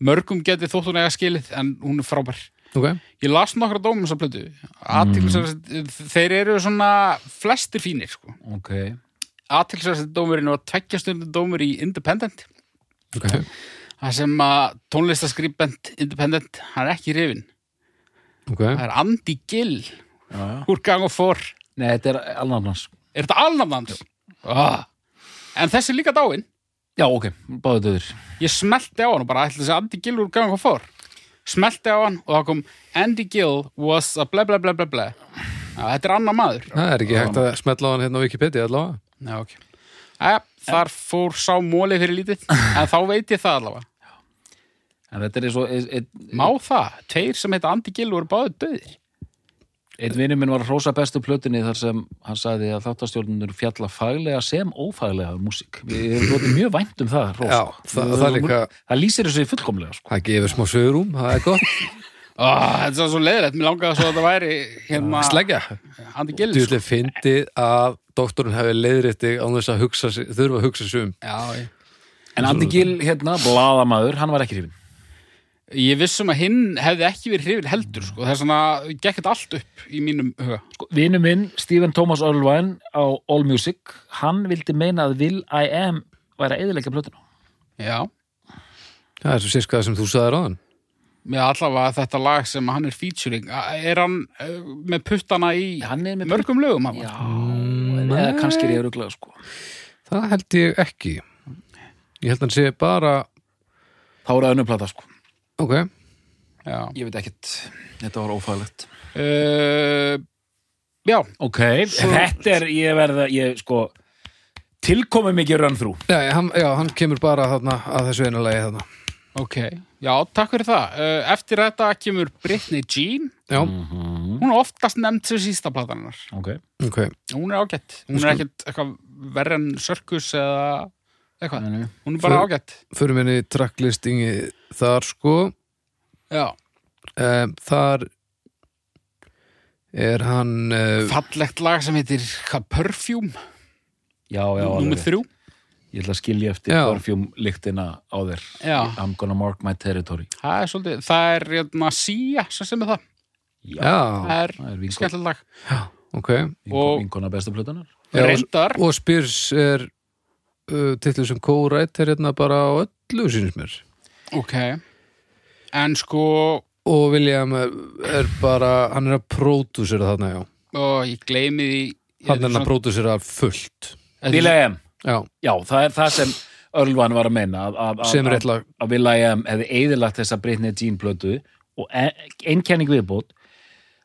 Speaker 3: mörgum geti þótt hún eiga skilið en hún er frábær
Speaker 1: Ok,
Speaker 3: Ég las nokkra dómum þessa plötu Athyglisverðasti- Þeir eru svona flestir fínir sko.
Speaker 2: Ok.
Speaker 3: Atilsverðast dómurinn var tveggjastundu dómur í Independent
Speaker 1: ok.
Speaker 3: Það sem að tónlistaskribent Independent, hann er ekki rifin
Speaker 1: ok,
Speaker 3: það er Andy Gill
Speaker 2: Já, já.
Speaker 3: úr gang og fór
Speaker 2: Nei, þetta er alveg hans.
Speaker 3: er þetta alnafnans? Ah. en þessi er líka dáin
Speaker 2: Já, ok, báðu döður.
Speaker 3: ég smelti á hann og bara ætla þessi Andy Gill úr gang og fór smelti á hann og það kom Andy Gill was a bla bla bla bla bla Já, þetta er annar maður
Speaker 1: það er ekki hægt að smetla á hann hérna á Wikipedia allavega
Speaker 3: Já, ok. Æja, þar fór sá móli fyrir lítið, en þá veit ég það allavega.
Speaker 2: En þetta er eins og, einn
Speaker 3: Má það? Tveir sem heita Andi Gill voru báðið döðir.
Speaker 2: ein vinnum minn var að hrósa bestu plötunni þar sem hann sagði að þáttastjórnunur fjalla faglega sem ófaglega um músík. Við erum lotið mjög vænt um það, hrós.
Speaker 1: Já, það- það líka-
Speaker 2: Það lýsir þessu fullkomlega, sko.
Speaker 1: það gefur smá sögurum, það er gott
Speaker 3: Oh, þetta er svo leiðilegt, mér langaði svo að þetta væri hérna
Speaker 1: sleggja,
Speaker 3: Andi Gill. Sko.
Speaker 1: djúlega fyndi að doktorinn hefði leiðrétt þig án þess að hugsa, sig- þurfa að hugsa sig um
Speaker 3: Já, ég.
Speaker 2: En Andy Gill, hérna, bladamaður, hann var ekki hrifin.
Speaker 3: ég vissum að hinn hefði ekki verið hrifin heldur, sko. Það er svona, gekk þetta allt upp í mínum huga.
Speaker 2: Sko, Vinnu minn, Stephen Thomas Irvine á AllMusic, hann vildi meina að Will I Am væri að eðilegja plötuna.
Speaker 3: Já,
Speaker 1: það er svo sérst hvað sem þú sagðir á hann
Speaker 3: með allavega þetta lag sem hann er featuring, er hann eh, með puttana í
Speaker 2: Hann er með...
Speaker 3: mörgum lögum, hann?
Speaker 2: Já, eða kannski er ég ruglega, sko.
Speaker 1: það held ég ekki ég held hann sé bara
Speaker 2: Þá er það önnum plata, sko.
Speaker 1: ok,
Speaker 3: Já.
Speaker 2: Ég veit ekkert, þetta var ófæðlegt.
Speaker 3: Uh, já,
Speaker 2: Ok, þetta er, ég verða, ég sko, tilkomi mikið run through.
Speaker 1: já, hann, já, hann kemur bara þarna, að þessu einu lagi þarna
Speaker 3: Ok, já, takk fyrir það. Uh, Eftir þetta kemur Britney Jean.
Speaker 1: já,
Speaker 2: Mm.
Speaker 3: Hún er oftast nefnd sem sísta plataninnar.
Speaker 2: Ok.
Speaker 1: ok,
Speaker 3: Hún er ágætt. Hún er ekkert eitthvað verri en sörkus eða
Speaker 2: Mm.
Speaker 3: eitthvað. Hún er bara
Speaker 1: Svo-
Speaker 3: ágætt.
Speaker 1: förum henni tracklistingi þar sko
Speaker 3: Já,
Speaker 1: um, þar er hann uh,
Speaker 3: fallegt lag sem heitir hvað, Perfume,
Speaker 2: Já, já,
Speaker 3: nummer
Speaker 2: alveg.
Speaker 3: þrjú.
Speaker 2: Ég ætla að skilja eftir
Speaker 1: Já.
Speaker 2: Orfjum lyktina á þér.
Speaker 3: Já.
Speaker 2: I'm gonna mark my territory.
Speaker 3: Það er svolítið, það er hérna Sia sem sem er það.
Speaker 1: já,
Speaker 3: Það er
Speaker 2: Það er vinkona,
Speaker 3: skemmtilegt lag.
Speaker 1: ok
Speaker 3: og-
Speaker 2: vinkona bestu plötunar.
Speaker 1: Já,
Speaker 3: Reyndar,
Speaker 1: og Spears er uh, titlu sem co-writer hérna bara á öllu sínum mér
Speaker 3: ok. En sko,
Speaker 1: og William er, er bara hann er að pródúsera þarna já
Speaker 3: ó, ég gleymi því. ég
Speaker 1: hann er
Speaker 3: svona-
Speaker 1: að pródúsera fullt
Speaker 2: Will I Am.
Speaker 1: já,
Speaker 2: Já, það er það sem Örlvan var að meina að, að,
Speaker 1: sem er
Speaker 2: að,
Speaker 1: eitthvað
Speaker 2: að Will I Am hefði eðilagt þessa Britney Jean plötu og einnkenning viðbót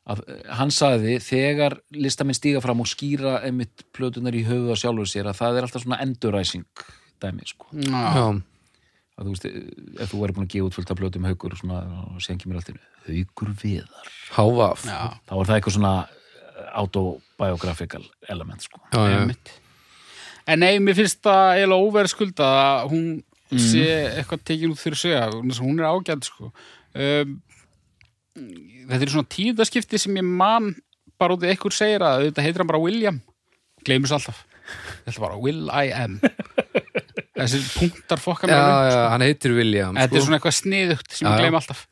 Speaker 2: að eh, hann sagði þegar listamenn stíga fram og skýra einmitt plötunar í höfuð á sjálfur sér að það er alltaf svona enduræsing dæmi sko
Speaker 3: Já,
Speaker 1: já,
Speaker 2: að þú veist, eh, ef þú væri búin að gefa út fullt af plötum haukur og svona, og síðan kemur allt í einu, haukur viðar,
Speaker 1: hávaf já,
Speaker 3: já.
Speaker 2: þá er það eitthvað svona eh, autobiographical element sko
Speaker 1: já, já.
Speaker 3: Einmitt. En nei, mér finnst það eiginlega óverðskulda að hún
Speaker 1: Mhm.
Speaker 3: sé eitthvað tekin út fyrir sögja hún er ágætt sko um, Þetta er svona tíðaskipti sem ég man bara út í ekkur segir að þetta heitir hann bara William gleymur svo alltaf Þetta er bara Will I am Þessi punktar fokka mér
Speaker 1: já,
Speaker 3: upp.
Speaker 1: já, hann heitir William
Speaker 3: Þetta er
Speaker 1: sko.
Speaker 3: svona eitthvað sniðugt sem
Speaker 1: Já,
Speaker 3: ég
Speaker 1: já.
Speaker 3: gleym alltaf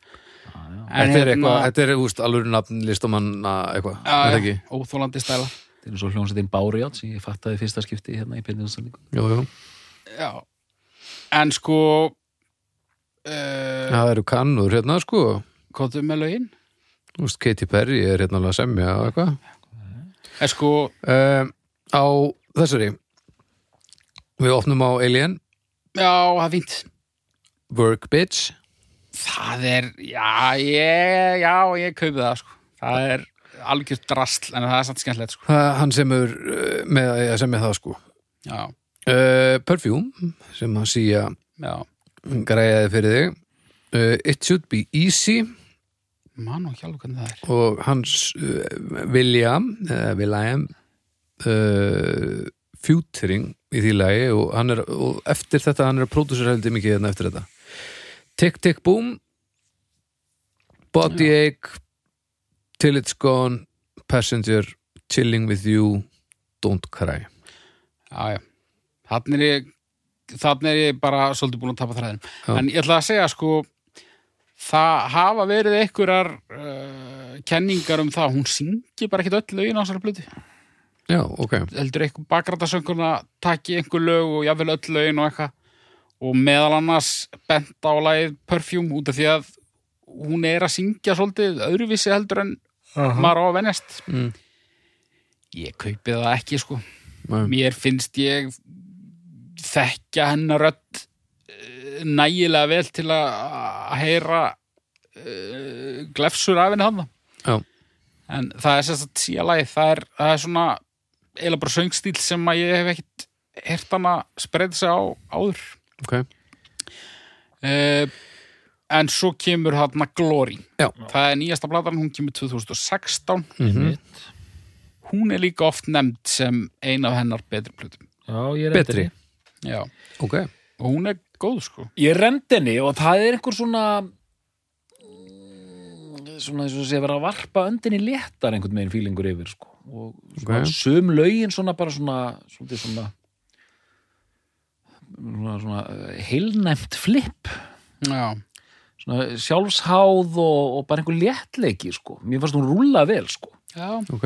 Speaker 3: En
Speaker 1: þetta er eitthvað,
Speaker 3: hérna-
Speaker 1: þetta er úst alveg nafn listamanna eitthvað,
Speaker 3: Já,
Speaker 1: er það
Speaker 3: já,
Speaker 1: ekki?
Speaker 3: Óþólandi stæla
Speaker 2: þetta er svo hljónsettinn Bárijátt sem ég fattaði fyrsta skipti hérna í Pindinstalningu
Speaker 3: Eh,
Speaker 1: Jú, jú.
Speaker 3: Já En sko uh,
Speaker 1: það eru kannur hérna sko
Speaker 3: Kóttu með lögin?
Speaker 1: úst, Katy Perry er hérna alveg að semja og eitthvað
Speaker 3: Er sko
Speaker 1: um, á þessari við opnum á Alien
Speaker 3: Já, það er fínt.
Speaker 1: Work Bitch
Speaker 3: Það er, já, ég, já, ég kaupi það, sko. Það er algjört drasl, en það er satt skemmtilegt, sko.
Speaker 1: það, hann sem er uh, með, eh, sem er það sko
Speaker 3: Já,
Speaker 1: uh, Perfume sem að síja
Speaker 3: já.
Speaker 1: græjaði fyrir þig uh, It Should Be Easy
Speaker 3: Man og hjálf hvernig það er.
Speaker 1: og hans uh, William uh, William uh, featuring í því lagi og, hann er, og eftir þetta hann er að pródúsur heldur mikið hérna eftir þetta Tick Tick Boom Body Ache Till It's Gone Passenger Chilling With You Don't Cry
Speaker 3: Já, já. Þannig er ég, þannig er ég bara svolítið búin að tapa þræðin.
Speaker 1: Já.
Speaker 3: En ég ætla að segja, sko, það hafa verið einhverjar uh, kenningar um það. Hún syngi bara ekkert öll lögin á þessari blötu.
Speaker 1: Já, ok
Speaker 3: heldur einhver bakgrætasönguna taki einhver lög og jafnvel öll lögin og eitthvað og meðal annars bent á lagið Perfume út af því að hún er að syngja svolítið öðruvísi heldur en maður á að venjast
Speaker 1: Mm.
Speaker 3: ég kaupi það ekki sko
Speaker 1: Nei.
Speaker 3: mér finnst ég þekkja hennar rödd eh, nægilega vel til að að heyra uh, glefsur af henni hann
Speaker 1: Já.
Speaker 3: en það er sérst að síðalagi það er, það er svona eila bara söngstíl sem að ég hef ekkit hert hann að spreða sig á áður
Speaker 1: ok,
Speaker 3: uh, en svo kemur hann að Glory
Speaker 1: já
Speaker 3: það er nýjasta platan, hún kemur 2016
Speaker 1: Mhm.
Speaker 3: hún er líka oft nefnd sem ein af hennar betri plötum
Speaker 2: Já, ég rendi
Speaker 1: Betri.
Speaker 2: henni.
Speaker 3: já
Speaker 1: ok,
Speaker 3: og hún er góð sko
Speaker 2: Ég rendi henni og það er einhver svona mm, svona eins og sé verið að varpa öndinni léttar einhvern veginn fílingur yfir sko. og svona,
Speaker 1: Ok.
Speaker 2: sum lögin svona bara svona svona svona, svona, svona eh, heilnæmt flip
Speaker 3: já,
Speaker 2: svona sjálfsháð og, og bara einhver léttleiki sko. mér fannst hún rúlla vel sko.
Speaker 3: já.
Speaker 1: ok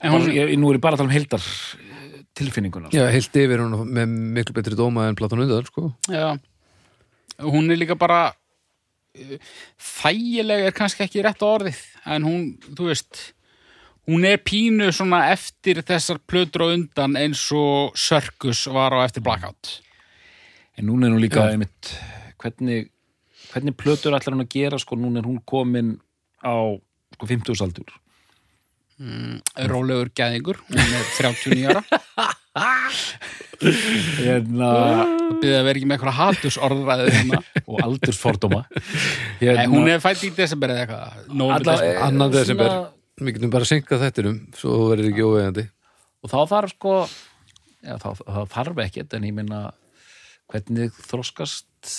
Speaker 3: en hún,
Speaker 2: ég, nú er ég bara að tala um heildar eh, tilfinninguna sko.
Speaker 1: já, heilt yfir hún með miklu betri dóma en Platan undan, sko
Speaker 3: já hún er líka bara eh, þægileg er kannski ekki rétt orðið en hún, þú veist hún er pínu svona eftir þessar plötur og undan eins og Sörkus var á eftir Blackout
Speaker 2: en núna er hún líka einmitt, hvernig, hvernig plötur ætlar hann að gera sko, núna er hún komin á sko, 50 aldur
Speaker 3: Rólegur geðingur, hún er 39 ára
Speaker 2: hérna,
Speaker 3: það byrði að vera ekki með eitthvað hatus orðræðu hérna
Speaker 2: og aldursfordóma
Speaker 3: Nei, hún er fætt í desember eða eitthvað nóvember,
Speaker 2: Hérna. Alla-
Speaker 3: desember.
Speaker 1: annan
Speaker 2: svona-
Speaker 1: desember, við getum bara að synka þettinum svo þú verður ekki óvegandi
Speaker 2: og þá þarf sko já, þá, þá þarf ekkert en ég minna hvernig þroskast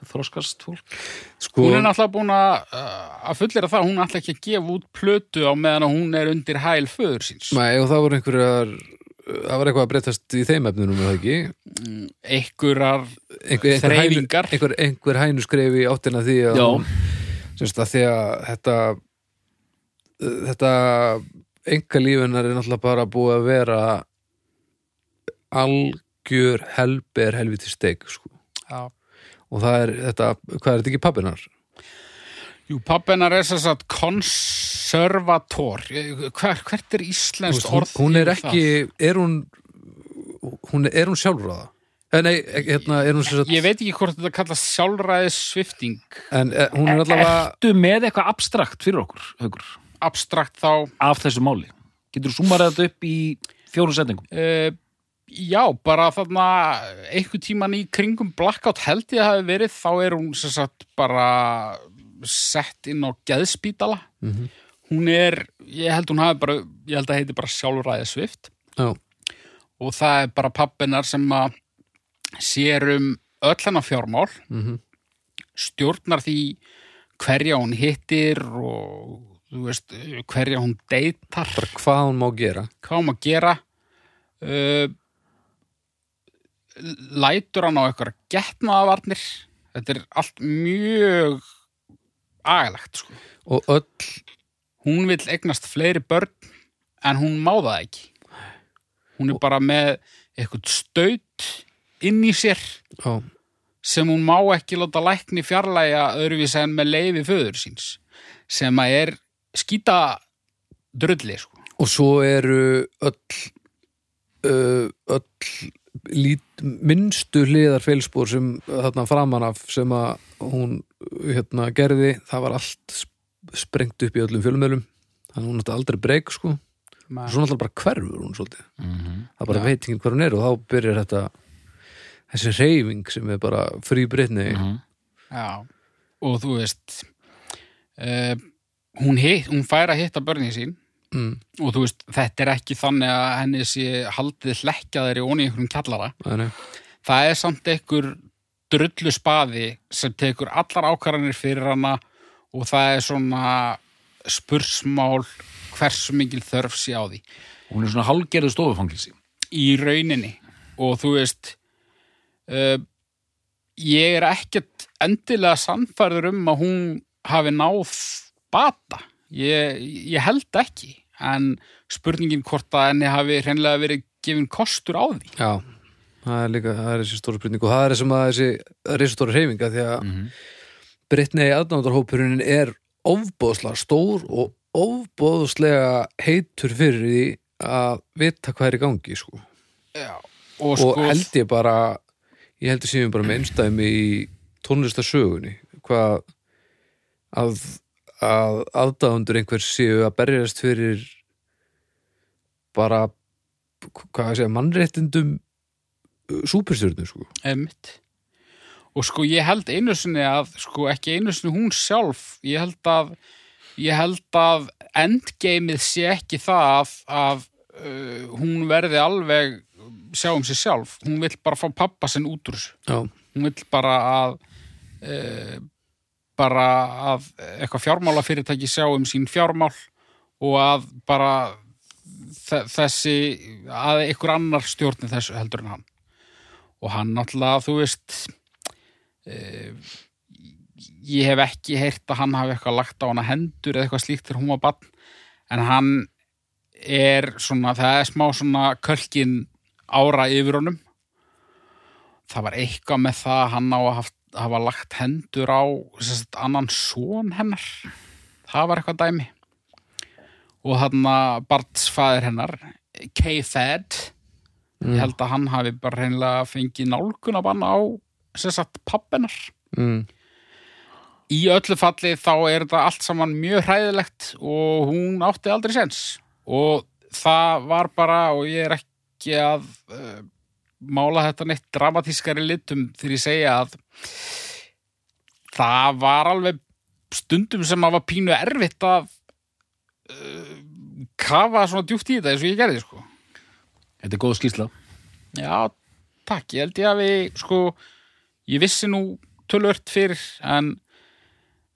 Speaker 2: þroskast fólk
Speaker 1: sko,
Speaker 3: Hún er náttúrulega búin að uh, að fullera það, hún ætla ekki að gefa út plötu á meðan að hún er undir hæl föður síns.
Speaker 1: nei, og það voru einhverjar það var eitthvað að breytast í þeim efnunum er það ekki einhver,
Speaker 3: Einhverjar,
Speaker 1: einhver, hænu,
Speaker 3: Þreifingar.
Speaker 1: einhver, einhver hænu skrefi áttina því að,
Speaker 2: Já.
Speaker 1: semst að því að þetta þetta enga lífinar er náttúrulega bara búið að vera algjör helber helviti steik sko.
Speaker 3: já.
Speaker 1: og það er þetta, hvað er þetta ekki pappinar?
Speaker 3: jú, pappenar er þess að konservator. Hver, hvert er íslenskt
Speaker 1: hún,
Speaker 3: orð?
Speaker 1: hún er
Speaker 3: yfir
Speaker 1: ekki, er hún hún er, er hún sjálfráða? Eh, Nei, ekki, hérna, er hún sem
Speaker 3: Það?
Speaker 1: sagt
Speaker 3: Ég veit ekki hvort þetta kallast sjálfræðissvifting.
Speaker 1: en eh, hún er allavega
Speaker 2: Ertu með eitthvað abstrakt fyrir okkur haukur,
Speaker 3: Abstrakt þá,
Speaker 2: af þessu máli getur þú sumarað þetta upp í fjórum setningum
Speaker 3: uh, já, bara þarna einhver tíman í kringum Blackout held ég að hafi verið, þá er hún sem sagt bara sett inn á geðspítala.
Speaker 1: Mhm.
Speaker 3: Hún er, ég held hún hafi bara, ég held að heiti bara sjálfræði svift
Speaker 1: já,
Speaker 3: og það er bara pappinar sem að sér um öll hennar fjármál
Speaker 1: Mhm.
Speaker 3: stjórnar því hverja hún hittir og þú veist, hverja hún deytar
Speaker 1: bara hvað hún má gera
Speaker 3: hvað hún má gera uh, lætur hann á eitthvað getnaðavarnir þetta er allt mjög agalegt sko.
Speaker 1: og öll,
Speaker 3: hún vil eignast fleiri börn en hún má það ekki hún er bara með eitthvað staut inn í sér
Speaker 1: já,
Speaker 3: sem hún má ekki láta lækni fjarlæga öðruvísa en með leifi föður síns sem að er skýta drulli sko.
Speaker 1: og svo eru öll uh, öll lít, minnstu hliðar felsbúr sem þarna framan af sem að hún hérna gerði, það var allt sp- sprengt upp í öllum fjölmjölum þannig að hún átti aldrei breyk sko og svo náttúrulega bara hverfur hún svolítið það er bara
Speaker 3: Já.
Speaker 1: veit ekki hver hún er og þá byrjar þetta þessi reyfing sem er bara frí breytni
Speaker 3: mhm. Já, og þú veist uh, hún, hitt, hún fær að hitta börnin sín
Speaker 1: mm,
Speaker 3: og þú veist, þetta er ekki þannig að henni sé haldið hlekkjaðir í onni einhverjum kjallara.
Speaker 1: þannig
Speaker 3: Það er samt einhver drullu spaði sem tekur allar ákvarðanir fyrir hana og það er svona spursmál hversu mikil þörf sé á því
Speaker 2: hún er svona hálgerðu stofufangilsi
Speaker 3: í rauninni og þú veist uh, ég er ekkert endilega sannfærður um að hún hafi náð bata ég, ég held ekki en spurningin hvort að henni hafi hreinlega verið gefin kostur á því
Speaker 1: Já, það er líka, það er þessi stóra spurning og það er sem að þessi risastóra hreyfinga því að Brittany aðnáttarhópurinn er ofbóðslega stór og ofbóðslega heitur fyrir því að vita hvað er í gangi sko.
Speaker 3: og
Speaker 1: og,
Speaker 3: sko,
Speaker 1: held ég bara ég held ég séum bara með einstæmi í tónlistarsögunni hvað að, að aðdáðundur einhver séu að berjast fyrir bara hvað að segja, mannréttindum súperstjörnum sko
Speaker 3: einmitt og sko ég held einu sinni að sko ekki einu sinni hún sjálf ég held að ég held að endgameið sé ekki það að, að uh, hún verði alveg sjá um sig sjálf, hún vill bara fá pappa sinn út úr þessu
Speaker 1: Já,
Speaker 3: hún vill bara að e, bara að eitthvað fjármálafyrirtæki sjá um sín fjármál og að bara þe- þessi að einhver annar stjórni þessu heldur en hann og hann náttúrulega þú veist e, ég hef ekki heyrt að hann hafi eitthvað lagt á hana hendur eða eitthvað slíkt þegar hún var bann en hann er svona, það er smá svona kölkin ára yfir honum það var eitthvað með það að hann á að haft, hafa lagt hendur á sem sagt, annan són hennar það var eitthvað dæmi og þarna barnsfæðir hennar K-Fed
Speaker 1: Mm,
Speaker 3: ég held að hann hafi bara reynilega fengið nálgun að banna á sem sagt pappennar
Speaker 1: mm,
Speaker 3: í öllu falli þá er þetta allt saman mjög hræðilegt og hún átti aldrei sens og það var bara og ég er ekki að uh, mála þetta neitt dramatískari litum þegar ég segja að það var alveg stundum sem að var pínu erfitt að uh, kafa svona djúpt í þetta eins og ég gerði sko
Speaker 2: Þetta er góð skýrsla.
Speaker 3: Já, takk, ég held ég að við sko, ég vissi nú tölvört fyrir en,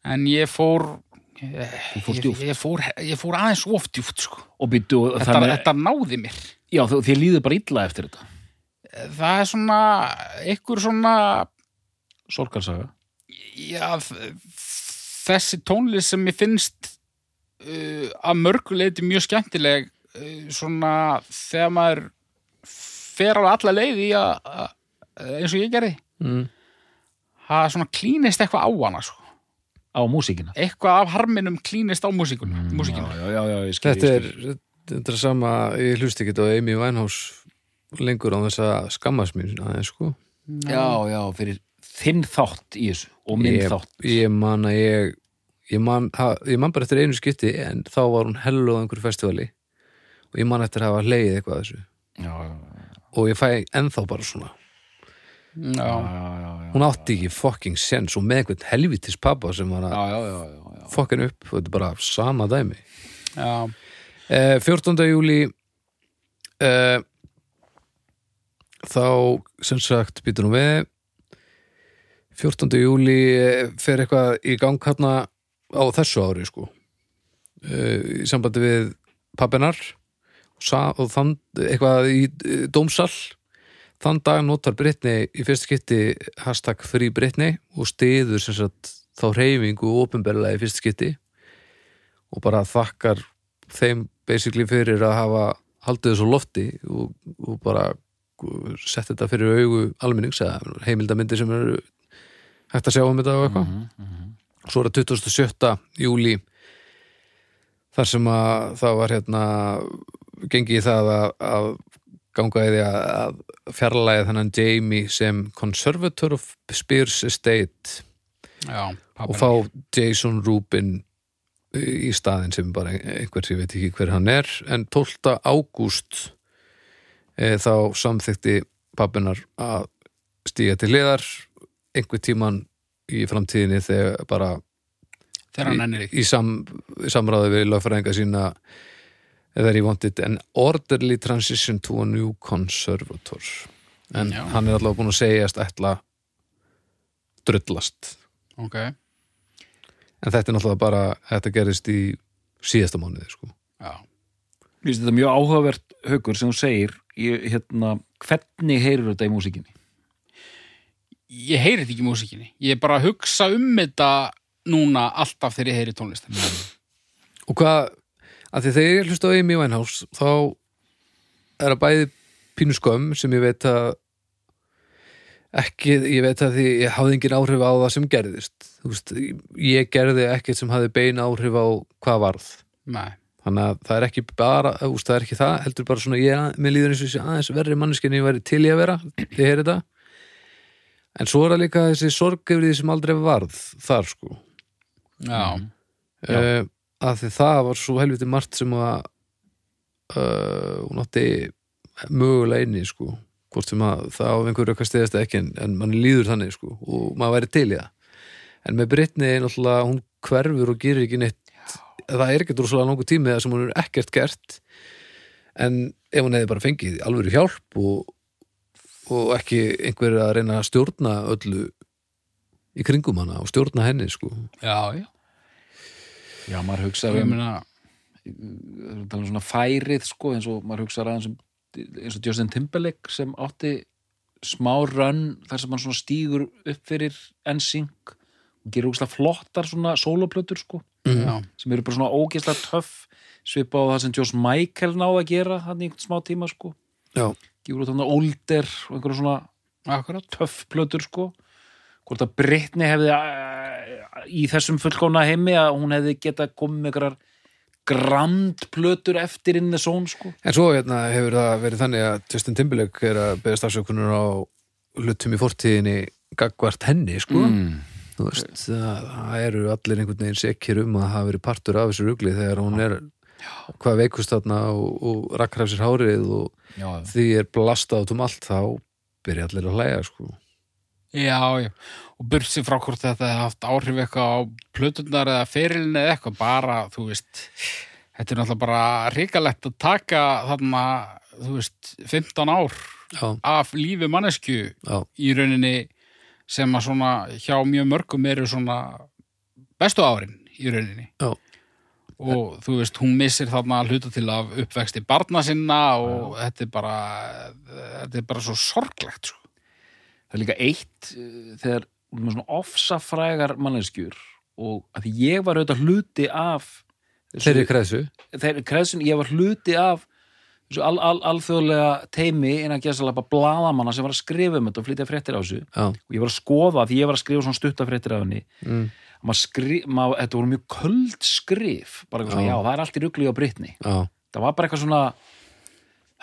Speaker 3: en ég fór Ég
Speaker 2: fórst djúpt.
Speaker 3: ég, ég, fór, ég fór aðeins of djúft sko.
Speaker 2: Og býttu,
Speaker 3: þetta,
Speaker 2: þannig, þetta...
Speaker 3: þetta náði mér
Speaker 2: já, þú- þér líður bara illa eftir þetta.
Speaker 3: Það er svona einhver svona
Speaker 2: Sorgarsaga.
Speaker 3: já, þ- þessi tónlist sem ég finnst uh, að mörgu leiti mjög skemmtileg uh, svona þegar maður fer alveg alla leið í að, að- að eins og ég gerði
Speaker 1: mm,
Speaker 3: það svona klínist eitthvað á hana sko.
Speaker 2: Á músíkina.
Speaker 3: eitthvað af harminum klínist á músíkuna mm,
Speaker 2: Já, já, já, já, ég skil.
Speaker 1: Þetta
Speaker 2: ég
Speaker 1: er þetta er sama, ég hlusti ekki á Amy Winehouse lengur á þess að skammast mín aðeins sko
Speaker 2: skil. Já, já, fyrir þinn þátt í þessu og minn
Speaker 1: ég,
Speaker 2: þátt.
Speaker 1: ég man að ég ég man, ha, ég man bara eftir einu skipti en þá var hún hellu á einhverju festivali og ég man eftir að hafa leið eitthvað að þessu
Speaker 2: Já, já, já,
Speaker 1: og ég fæ ennþá bara svona
Speaker 3: Já,
Speaker 2: já, já, já.
Speaker 1: hún átti ekki fucking sens og með einhvern helvitis pappa sem var að
Speaker 2: Já, já, já, já, já.
Speaker 1: fokkin upp og þetta er bara sama dæmi
Speaker 3: já,
Speaker 1: eh, 14. júli eh, þá sem sagt býtur nú við 14. júli eh, fer eitthvað í gang hérna á þessu ári sko eh, í sambandi við pappinar og, sa, og þann, eitthvað í eh, dómsal þann dag notar Brittany í fyrsta skipti hashtag free Brittany og stiður sem sagt þá reyfingu ofinberlega í fyrsta skipti og bara þakkar þeim basically fyrir að hafa haldið þessu á lofti og, og bara sett þetta fyrir augu almennings eða heimildamindir sem eru hægt að sjá um þetta og eitthvað svo er það 27. júli þar sem að það var hérna gengið í það að, að ganga í því að, að fjarlæði þennan Jamie sem conservator of Spears Estate
Speaker 3: já
Speaker 1: og
Speaker 3: pabbi.
Speaker 1: fá Jason Rubin eh, í staðin sem bara einhver sem ég veit ekki hver hann er en 12. ágúst e, þá samþykti pappinar að stíga til liðar einhver tíman í framtíðinni þegar bara
Speaker 3: þegar hann ennir ekki
Speaker 1: í, sam, í samráði við lögfræðinga sína eh, eða ég vantið an orderly transition to a new conservator en
Speaker 3: Já.
Speaker 1: hann er allavega búin að segjast ætla drullast
Speaker 3: ok,
Speaker 1: En þetta er náttúrulega bara, þetta gerist í síðasta mánuði, sko.
Speaker 3: já,
Speaker 2: Mér finnst þetta mjög áhugavert haukur sem hún segir, ég, hérna, hvernig heyrur þetta í músíkinni?
Speaker 3: ég heyri þetta ekki í músíkinni ég bara hugsa um þetta núna alltaf þegar ég heyri tónlistin
Speaker 1: Og hvað, að því þegar ég hlusta á Amy Winehouse, þá er það bæði pínu skömm sem ég veit að ekki, ég veit að því ég hafði engin áhrif á það sem gerðist Þú veist, ég gerði ekkert sem hafði bein áhrif á hvað varð
Speaker 3: Nei.
Speaker 1: þannig að það er ekki bara þú veist, það er ekki það, heldur bara svona ég, að- mér líður eins og þessi aðeins verri manneskinni ég væri til í að vera, ég heyri þetta en svo er það líka þessi sorg yfir því sem aldrei varð þar sko
Speaker 3: Já.
Speaker 2: Já.
Speaker 1: uh, að því það var svo helviti margt sem að uh, hún átti mögulega inni sko hvort sem að það á einhverju okkar stiðast ekki en, en mann líður þannig sko og maður væri til í það en með Brittany náttúrulega hún hverfur og gerir ekki neitt það er ekkert rosalega langur tími það sem hún er ekkert gert en ef hún hefði bara fengið alvöru hjálp og, og ekki einhver að reyna að stjórna öllu í kringum hana og stjórna henni sko
Speaker 3: Já, já.
Speaker 2: Já, maður
Speaker 3: Það
Speaker 2: hugsaði
Speaker 3: er
Speaker 2: um
Speaker 3: meina,
Speaker 2: við tala um svona færið sko eins og maður hugsaði aðeins um eins og Justin Timberlake sem átti smá run þar sem hann svona stígur upp fyrir NSYNC og gerir hugsaði flottar svona soloplötur sko
Speaker 3: já,
Speaker 2: sem eru bara svona ógeðslega töff svipa á það sem Josh Michael náði að gera hann í einhvern smá tíma sko
Speaker 1: Já.
Speaker 2: gefur út hann að Older og einhverjum svona
Speaker 3: akkurat.
Speaker 2: töff plötur sko hvort að Brittany hefði eh, í þessum fullkóna heimi að hún hefði geta komið með einhverjar grand plötur eftir inn the zone sko
Speaker 1: En svo hérna, hefur það verið þannig að Justin Timberlake er að beðast afsökunar á hlutum í fortíðinni gagvart henni, sko.
Speaker 2: Mm.
Speaker 1: Þú veist, það, það eru allir einhvern veginn sekir um að hafa verið partur af þessu rugli þegar hún er hvað veikust þarna og, og rakkar af sér hárið og
Speaker 2: já,
Speaker 1: því er blastað út um allt þá byrja allir að hlæja, sko.
Speaker 3: Já, já. Og bursi frá hvort þetta hefði haft áhrif eitthvað á plötunar eða ferilin eða eitthvað, bara, þú veist, þetta er náttúrulega bara ríkalegt að taka þarna, þú veist, 15 ár
Speaker 1: Já,
Speaker 3: af lífi mannesku
Speaker 1: já,
Speaker 3: í rauninni sem að svona hjá mjög mörgum eru svona bestu árin í rauninni.
Speaker 1: já,
Speaker 3: og þú veist, hún missir þarna að hluta til af uppvexti barna sinna og þetta er bara þetta er bara svo sorglegt sko.
Speaker 2: það er líka eitt eh, þegar hún er með svona ofsafrægar manneskjur og að því ég var auðvitað hluti af
Speaker 1: þeirri kreðsu.
Speaker 2: þeir, kreðsun, ég var hluti af þessu al, al, alþjóðlega teimi innan gæstalapa blaðamanna sem var að skrifa um þetta og flytja fréttir á þessu
Speaker 1: Já,
Speaker 2: og ég var að skoða því ég var að skrifa svona stuttafréttir af henni
Speaker 1: mm,
Speaker 2: maður skri, maður, þetta voru mjög köld skrif bara eitthvað
Speaker 1: Já.
Speaker 2: svona, já, það er allt í rugli á Brittany
Speaker 1: já,
Speaker 2: það var bara eitthvað svona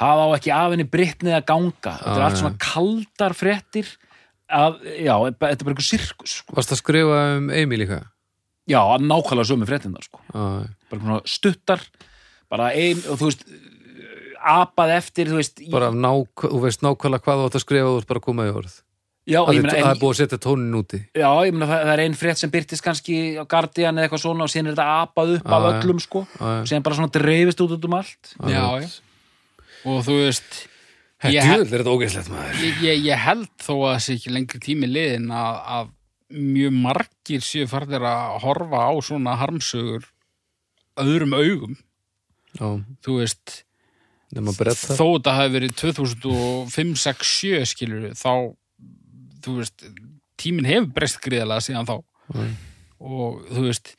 Speaker 2: það á ekki af henni Brittany að ganga þetta
Speaker 1: Já,
Speaker 2: er allt
Speaker 1: já.
Speaker 2: svona kaldar fréttir að, já, þetta er bara eitthvað sirkus sko.
Speaker 1: varst að skrifa um Amy líka?
Speaker 2: já, nákvæmlega sömu fréttinnar sko.
Speaker 1: Já,
Speaker 2: bara svona stuttar bara ein, og þú veist apað eftir, þú veist
Speaker 1: bara nák, þú veist nákvæmlega hvað þú átt að skrifa og þú ert bara að koma í orð.
Speaker 2: já,
Speaker 1: Það
Speaker 2: ég
Speaker 1: er
Speaker 2: meina,
Speaker 1: það er
Speaker 2: en,
Speaker 1: búið að setja tónin úti
Speaker 2: já, ég meina, það, það er ein frétt sem byrtist kannski á Guardian eða eitthvað svona og síðan er þetta apað upp
Speaker 1: Já,
Speaker 2: af
Speaker 1: já.
Speaker 2: öllum sko,
Speaker 1: Já, já.
Speaker 2: og síðan bara svona dreifist út út um allt
Speaker 3: Já, já. og þú veist
Speaker 1: Þetta
Speaker 3: ég, held-
Speaker 1: djöfull er þetta ógeðslegt maður
Speaker 3: ég, ég, ég held þó að þessi ekki lengri tími liðin að, að mjög margir séu farðir að horfa á svona harmsögur öðrum augum
Speaker 1: Já,
Speaker 3: þú veist,
Speaker 1: nema bretta
Speaker 3: þó þetta hafi verið 2005, 6, 7 skilur þá, þú veist tíminn hefur breyst gríðalega síðan þá
Speaker 1: Mm.
Speaker 3: og þú veist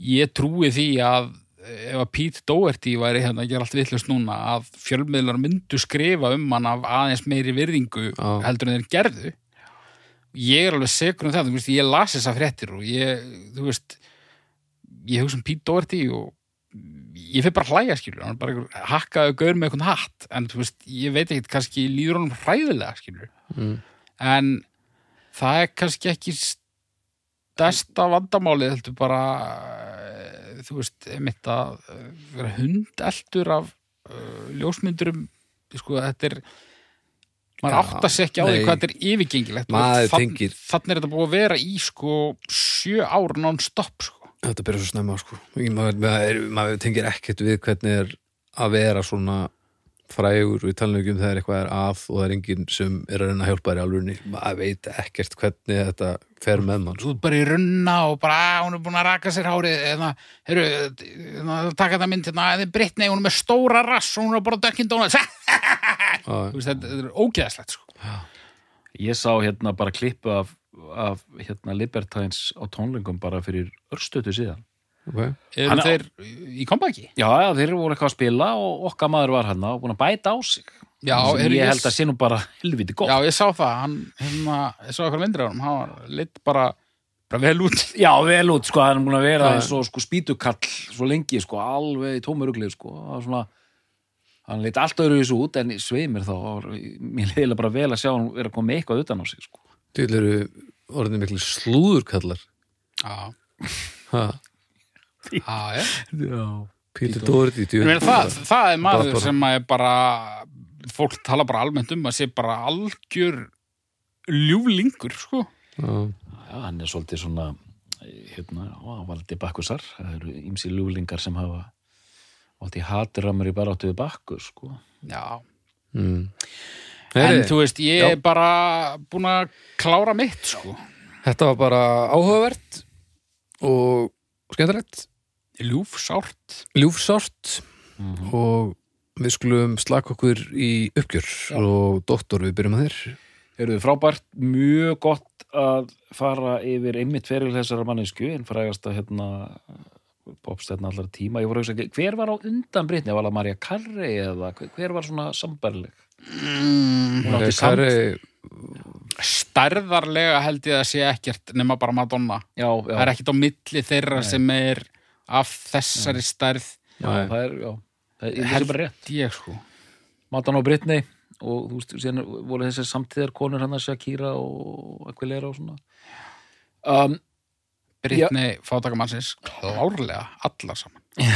Speaker 3: ég trúi því að ef að Pete Doherty væri hérna að gera allt vittlust núna að fjölmiðlar myndu skrifa um hann af aðeins meiri virðingu
Speaker 1: Já.
Speaker 3: heldur en þeir gerðu ég er alveg segur um það, þú veist, ég las þessa fréttir og ég, þú veist ég hugsa um Pete Doherty og ég fyrir bara að hlæja skilur hann er bara einhver hakkaðu gaur með eitthvað hatt en þú veist, ég veit ekkert kannski líður honum hræðilega skilur
Speaker 1: Mm.
Speaker 3: en það er kannski ekki stærsta vandamálið heldur bara eh, þú veist, mitt að eh, vera hundeldur af uh, ljósmyndurum sko, þetta er
Speaker 1: Já,
Speaker 3: maður átt að sekja á því
Speaker 1: nei.
Speaker 3: hvað þetta er yfirgengilegt og
Speaker 1: Maður
Speaker 3: þann-
Speaker 1: tengir.
Speaker 3: þannig er þetta búið að vera í sko sjö ár non-stop sko.
Speaker 1: Þetta byrja svo snemma sko Ég- maður, maður, maður tengir ekkert við hvernig er að vera svona frægur við talinu ekki um þegar eitthvað er að og það er enginn sem er að reyna að hjálpa þér í alvörunni maður veit ekkert hvernig þetta fer með mann sko.
Speaker 3: svo bara í runna og bara "Ah, hún er búin að raka sér hárið eða, heru, eða, taka þetta mynd hérna, eða Brittany, hún er með stóra rass og hún er bara dökkinn dónað
Speaker 1: Já,
Speaker 3: þetta, þetta er ógeðslegt sko.
Speaker 2: Ég sá hérna bara klippu af, af hérna Libertines á tónlingum bara fyrir örstötu síðan.
Speaker 1: ok.
Speaker 3: eru
Speaker 2: Hann-
Speaker 3: þeir í kompaki?
Speaker 2: Já, já, þeir voru eitthvað hérna að spila og okkar maður var hann og búin að bæta á sig.
Speaker 3: Já,
Speaker 2: sem
Speaker 3: heyrðu,
Speaker 2: ég held að sé nú bara helviti gott
Speaker 3: Já, ég sá það, hann, hérna, ég sá eitthvað myndir af hann, hann var lit bara, bara vel út.
Speaker 2: Já, vel út, sko, hann er búin að vera
Speaker 3: Já.
Speaker 2: eins og sko spýtukall svo lengi, sko, alveg í tómur uglið, sko, það var svona hann leit allt öðru þessu út, en sveið mér þá það var, mér leiðilega bara vel að sjá hann vera að koma með eitthvað utan á sig, sko
Speaker 1: Til eru orðinni miklu slúðurkallar.
Speaker 3: Já,
Speaker 1: Ha,
Speaker 3: já, já.
Speaker 2: Já,
Speaker 1: Peter Doherty,
Speaker 3: Ég meina,
Speaker 1: djöfull.
Speaker 3: það, það er maður
Speaker 1: Bara- bara-
Speaker 3: sem að er bara, fólk tala bara almennt um að sé bara algjör ljúflingur, sko.
Speaker 1: Já.
Speaker 2: hann er svolítið svona hérna, á, hann valdi bakkusar það eru ymsi ljúlingar sem hafa valdi hatramur í baráttu við bakkus, sko
Speaker 3: Já,
Speaker 1: Mm.
Speaker 3: en
Speaker 1: Heyri,
Speaker 3: þú veist, ég er bara búin að klára mitt, sko.
Speaker 1: Þetta var bara áhugavert og skemmtilegt,
Speaker 3: Ljúfsárt.
Speaker 1: ljúfsárt
Speaker 2: Mhm.
Speaker 1: og við skulum slaka okkur í uppgjör og doktor við byrjum að þér.
Speaker 2: Eruðu frábært, mjög gott að fara yfir einmitt feril þessara mannesku, en frægast að hérna popstætna allara tíma, ég voru að hugsa, hver var á undan Britni, var það Marja Karri eða hver- hver var svona sambærleg?
Speaker 3: Mm,
Speaker 1: Eh,
Speaker 2: Hún átti samt-
Speaker 1: Kari,
Speaker 3: stærðarlega held ég að sé ekkert nema bara Madonna.
Speaker 2: Já, já,
Speaker 3: Það er ekkert á milli þeirra
Speaker 2: Nei.
Speaker 3: sem er af þessari stærð
Speaker 2: já,
Speaker 1: Nei.
Speaker 2: það er, já, það er, það
Speaker 3: Held-
Speaker 2: er bara rétt.
Speaker 3: ég sko.
Speaker 2: Matan á Britni og þú veist, síðan voru þessar samtíðar konur hann að Shakira og Aquilera og svona. Um,
Speaker 3: Brittany fátakamannsins klárlega allar saman.
Speaker 2: ég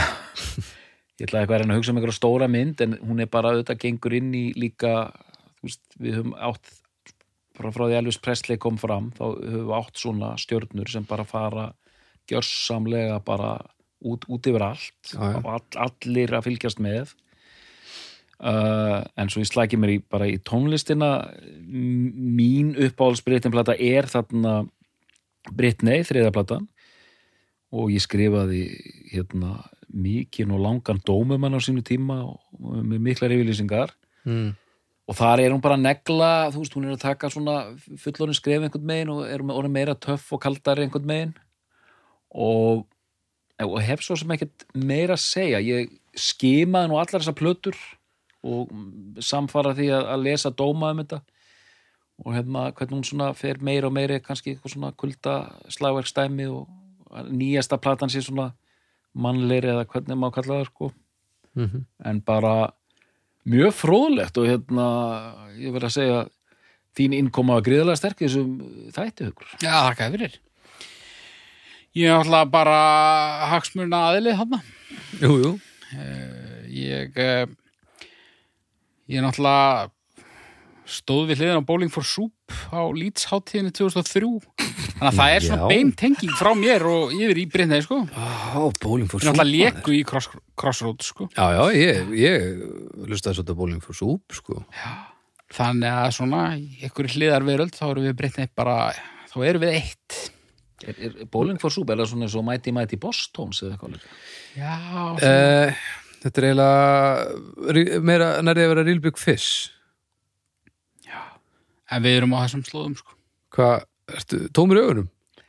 Speaker 2: ætlaði eitthvað að reyna að hugsa um einhverja stóra mynd en hún er bara auðvitað gengur inn í líka þú veist, við höfum átt frá, frá því Elvis Presley kom fram þá höfum við átt svona stjörnur sem bara fara gjörsamlega bara út, út yfir allt
Speaker 1: Já, já.
Speaker 2: og all, allir að fylgjast með uh, en svo ég slæki mér í, bara í tónlistina m- mín uppáhaldsbritinplata er þarna Britney, þriðaplatan og ég skrifaði hérna mikinn og langan dómumann á sínu tíma og og með miklar yfirlýsingar
Speaker 1: mm.
Speaker 2: og þar er hún bara að negla, þú veist, hún er að taka svona fullorinn skref einhvern megin og er orðin meira töff og kaldari einhvern megin og, og hef svo sem ekkert meira að segja ég skimaði nú allar þessar plötur og samfara því að, að lesa dóma um þetta og hefna, hvernig hún svona fer meira og meira kannski eitthvað svona kulda slagverkstæmi og að nýjasta platan sé svona mannleiri eða hvernig má kalla það sko
Speaker 1: Mhm.
Speaker 2: en bara mjög fróðlegt og hérna ég verð að segja þín innkoma var gríðlega sterk í þessum þætti hugur
Speaker 3: Já, þakkaði fyrir. Ég er alltaf bara hagsmurna aðilið þarna.
Speaker 1: Jú, jú.
Speaker 3: Ég, eh, ég er náttúrulega stóð við hliðin á Bowling for Soup á Leeds hátíðinni 2003 þannig að það er svona
Speaker 1: Já.
Speaker 3: beintenging frá mér og yfir í Bryndegi sko
Speaker 1: Á, bóling fór
Speaker 3: ég er náttúrulega leku í cross, Crossroads sko
Speaker 1: Já, já, ég, ég lustaði svolítið að bóling fór súp, sko.
Speaker 3: þannig að svona í einhverju hliðar veröld þá erum við Bryndegi bara þá erum við eitt
Speaker 2: er, er Bowling for Soup, er það svona svo Mighty Mighty Boss Tones eða eitthvað líka?
Speaker 3: Já, uh,
Speaker 1: Eh, þetta er eiginlega rí- meira nærið að vera Rílbjörg Fiss.
Speaker 3: en við erum á þessum slóðum sko
Speaker 1: Hvað, ertu tómur í augunum?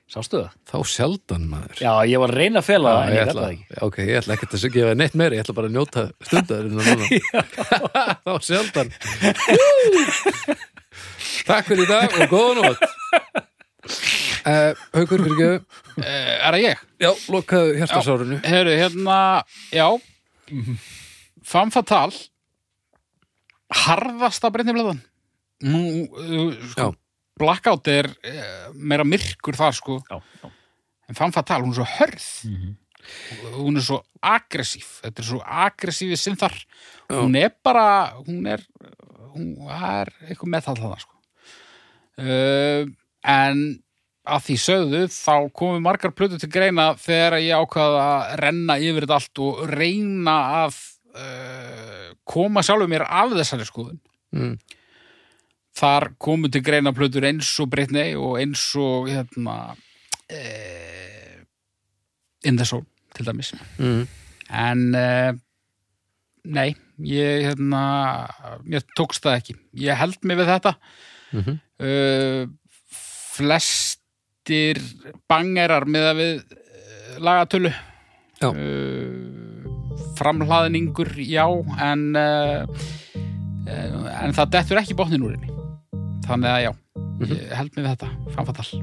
Speaker 2: Sástu það?
Speaker 1: Þá sjaldan, maður.
Speaker 2: Já, ég var að reyna að fela það en
Speaker 1: ég
Speaker 2: ég
Speaker 1: ætla,
Speaker 2: gæla það ekki
Speaker 1: ok, ég ætla ekkert að gefa neitt meira, ég ætla bara að njóta stundarinnar núna. Þá sjaldan. Takk fyrir í dag og góða nótt. Eh, Haukur, fyrir gefum.
Speaker 3: uh, Er það ég?
Speaker 1: Já, lokaðu hjartasárunu.
Speaker 3: Herru, hérna, já Femme Fatale harðasta breytniblaðan Nú, uh, sko,
Speaker 1: Já.
Speaker 3: Blackout er uh, meira myrkur þar, sko
Speaker 2: Já, já.
Speaker 3: en Femme Fatale, hún er svo hörð hún er svo aggressív þetta er svo aggressívi sinn þar hún er bara, hún er hún það er eitthvað með það þarna, sko uh, en að því sögðu þá komi margar plötu til greina þegar ég ákvaða að renna yfir þetta allt og reyna að uh, koma sjálfur mér af þessari skoðun
Speaker 1: Mm.
Speaker 3: þar komu til greina plötur eins og Britney og eins og hérna e, In the Soul til dæmis
Speaker 1: Mm.
Speaker 3: en e, nei ég hérna mér tókst það ekki, ég held mig við þetta
Speaker 1: Mm -hmm.
Speaker 3: uh, flestir bangerar með að við uh, lagatölu
Speaker 1: Já.
Speaker 3: Eh, uh, framhlaðningur já en uh, Eh, en það dettur ekki botnin úr henni þannig að já, ég held mig við þetta framfattal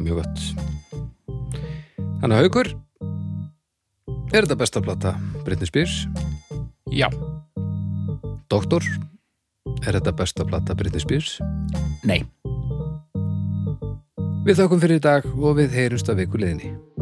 Speaker 1: Mjög gott Þannig að haukur Er þetta besta plata Britney Spears?
Speaker 3: já,
Speaker 1: Doktor? Er þetta besta plata Britney Spears?
Speaker 2: Nei.
Speaker 1: Við þakkum fyrir í dag og við heyrumst að viku liðinni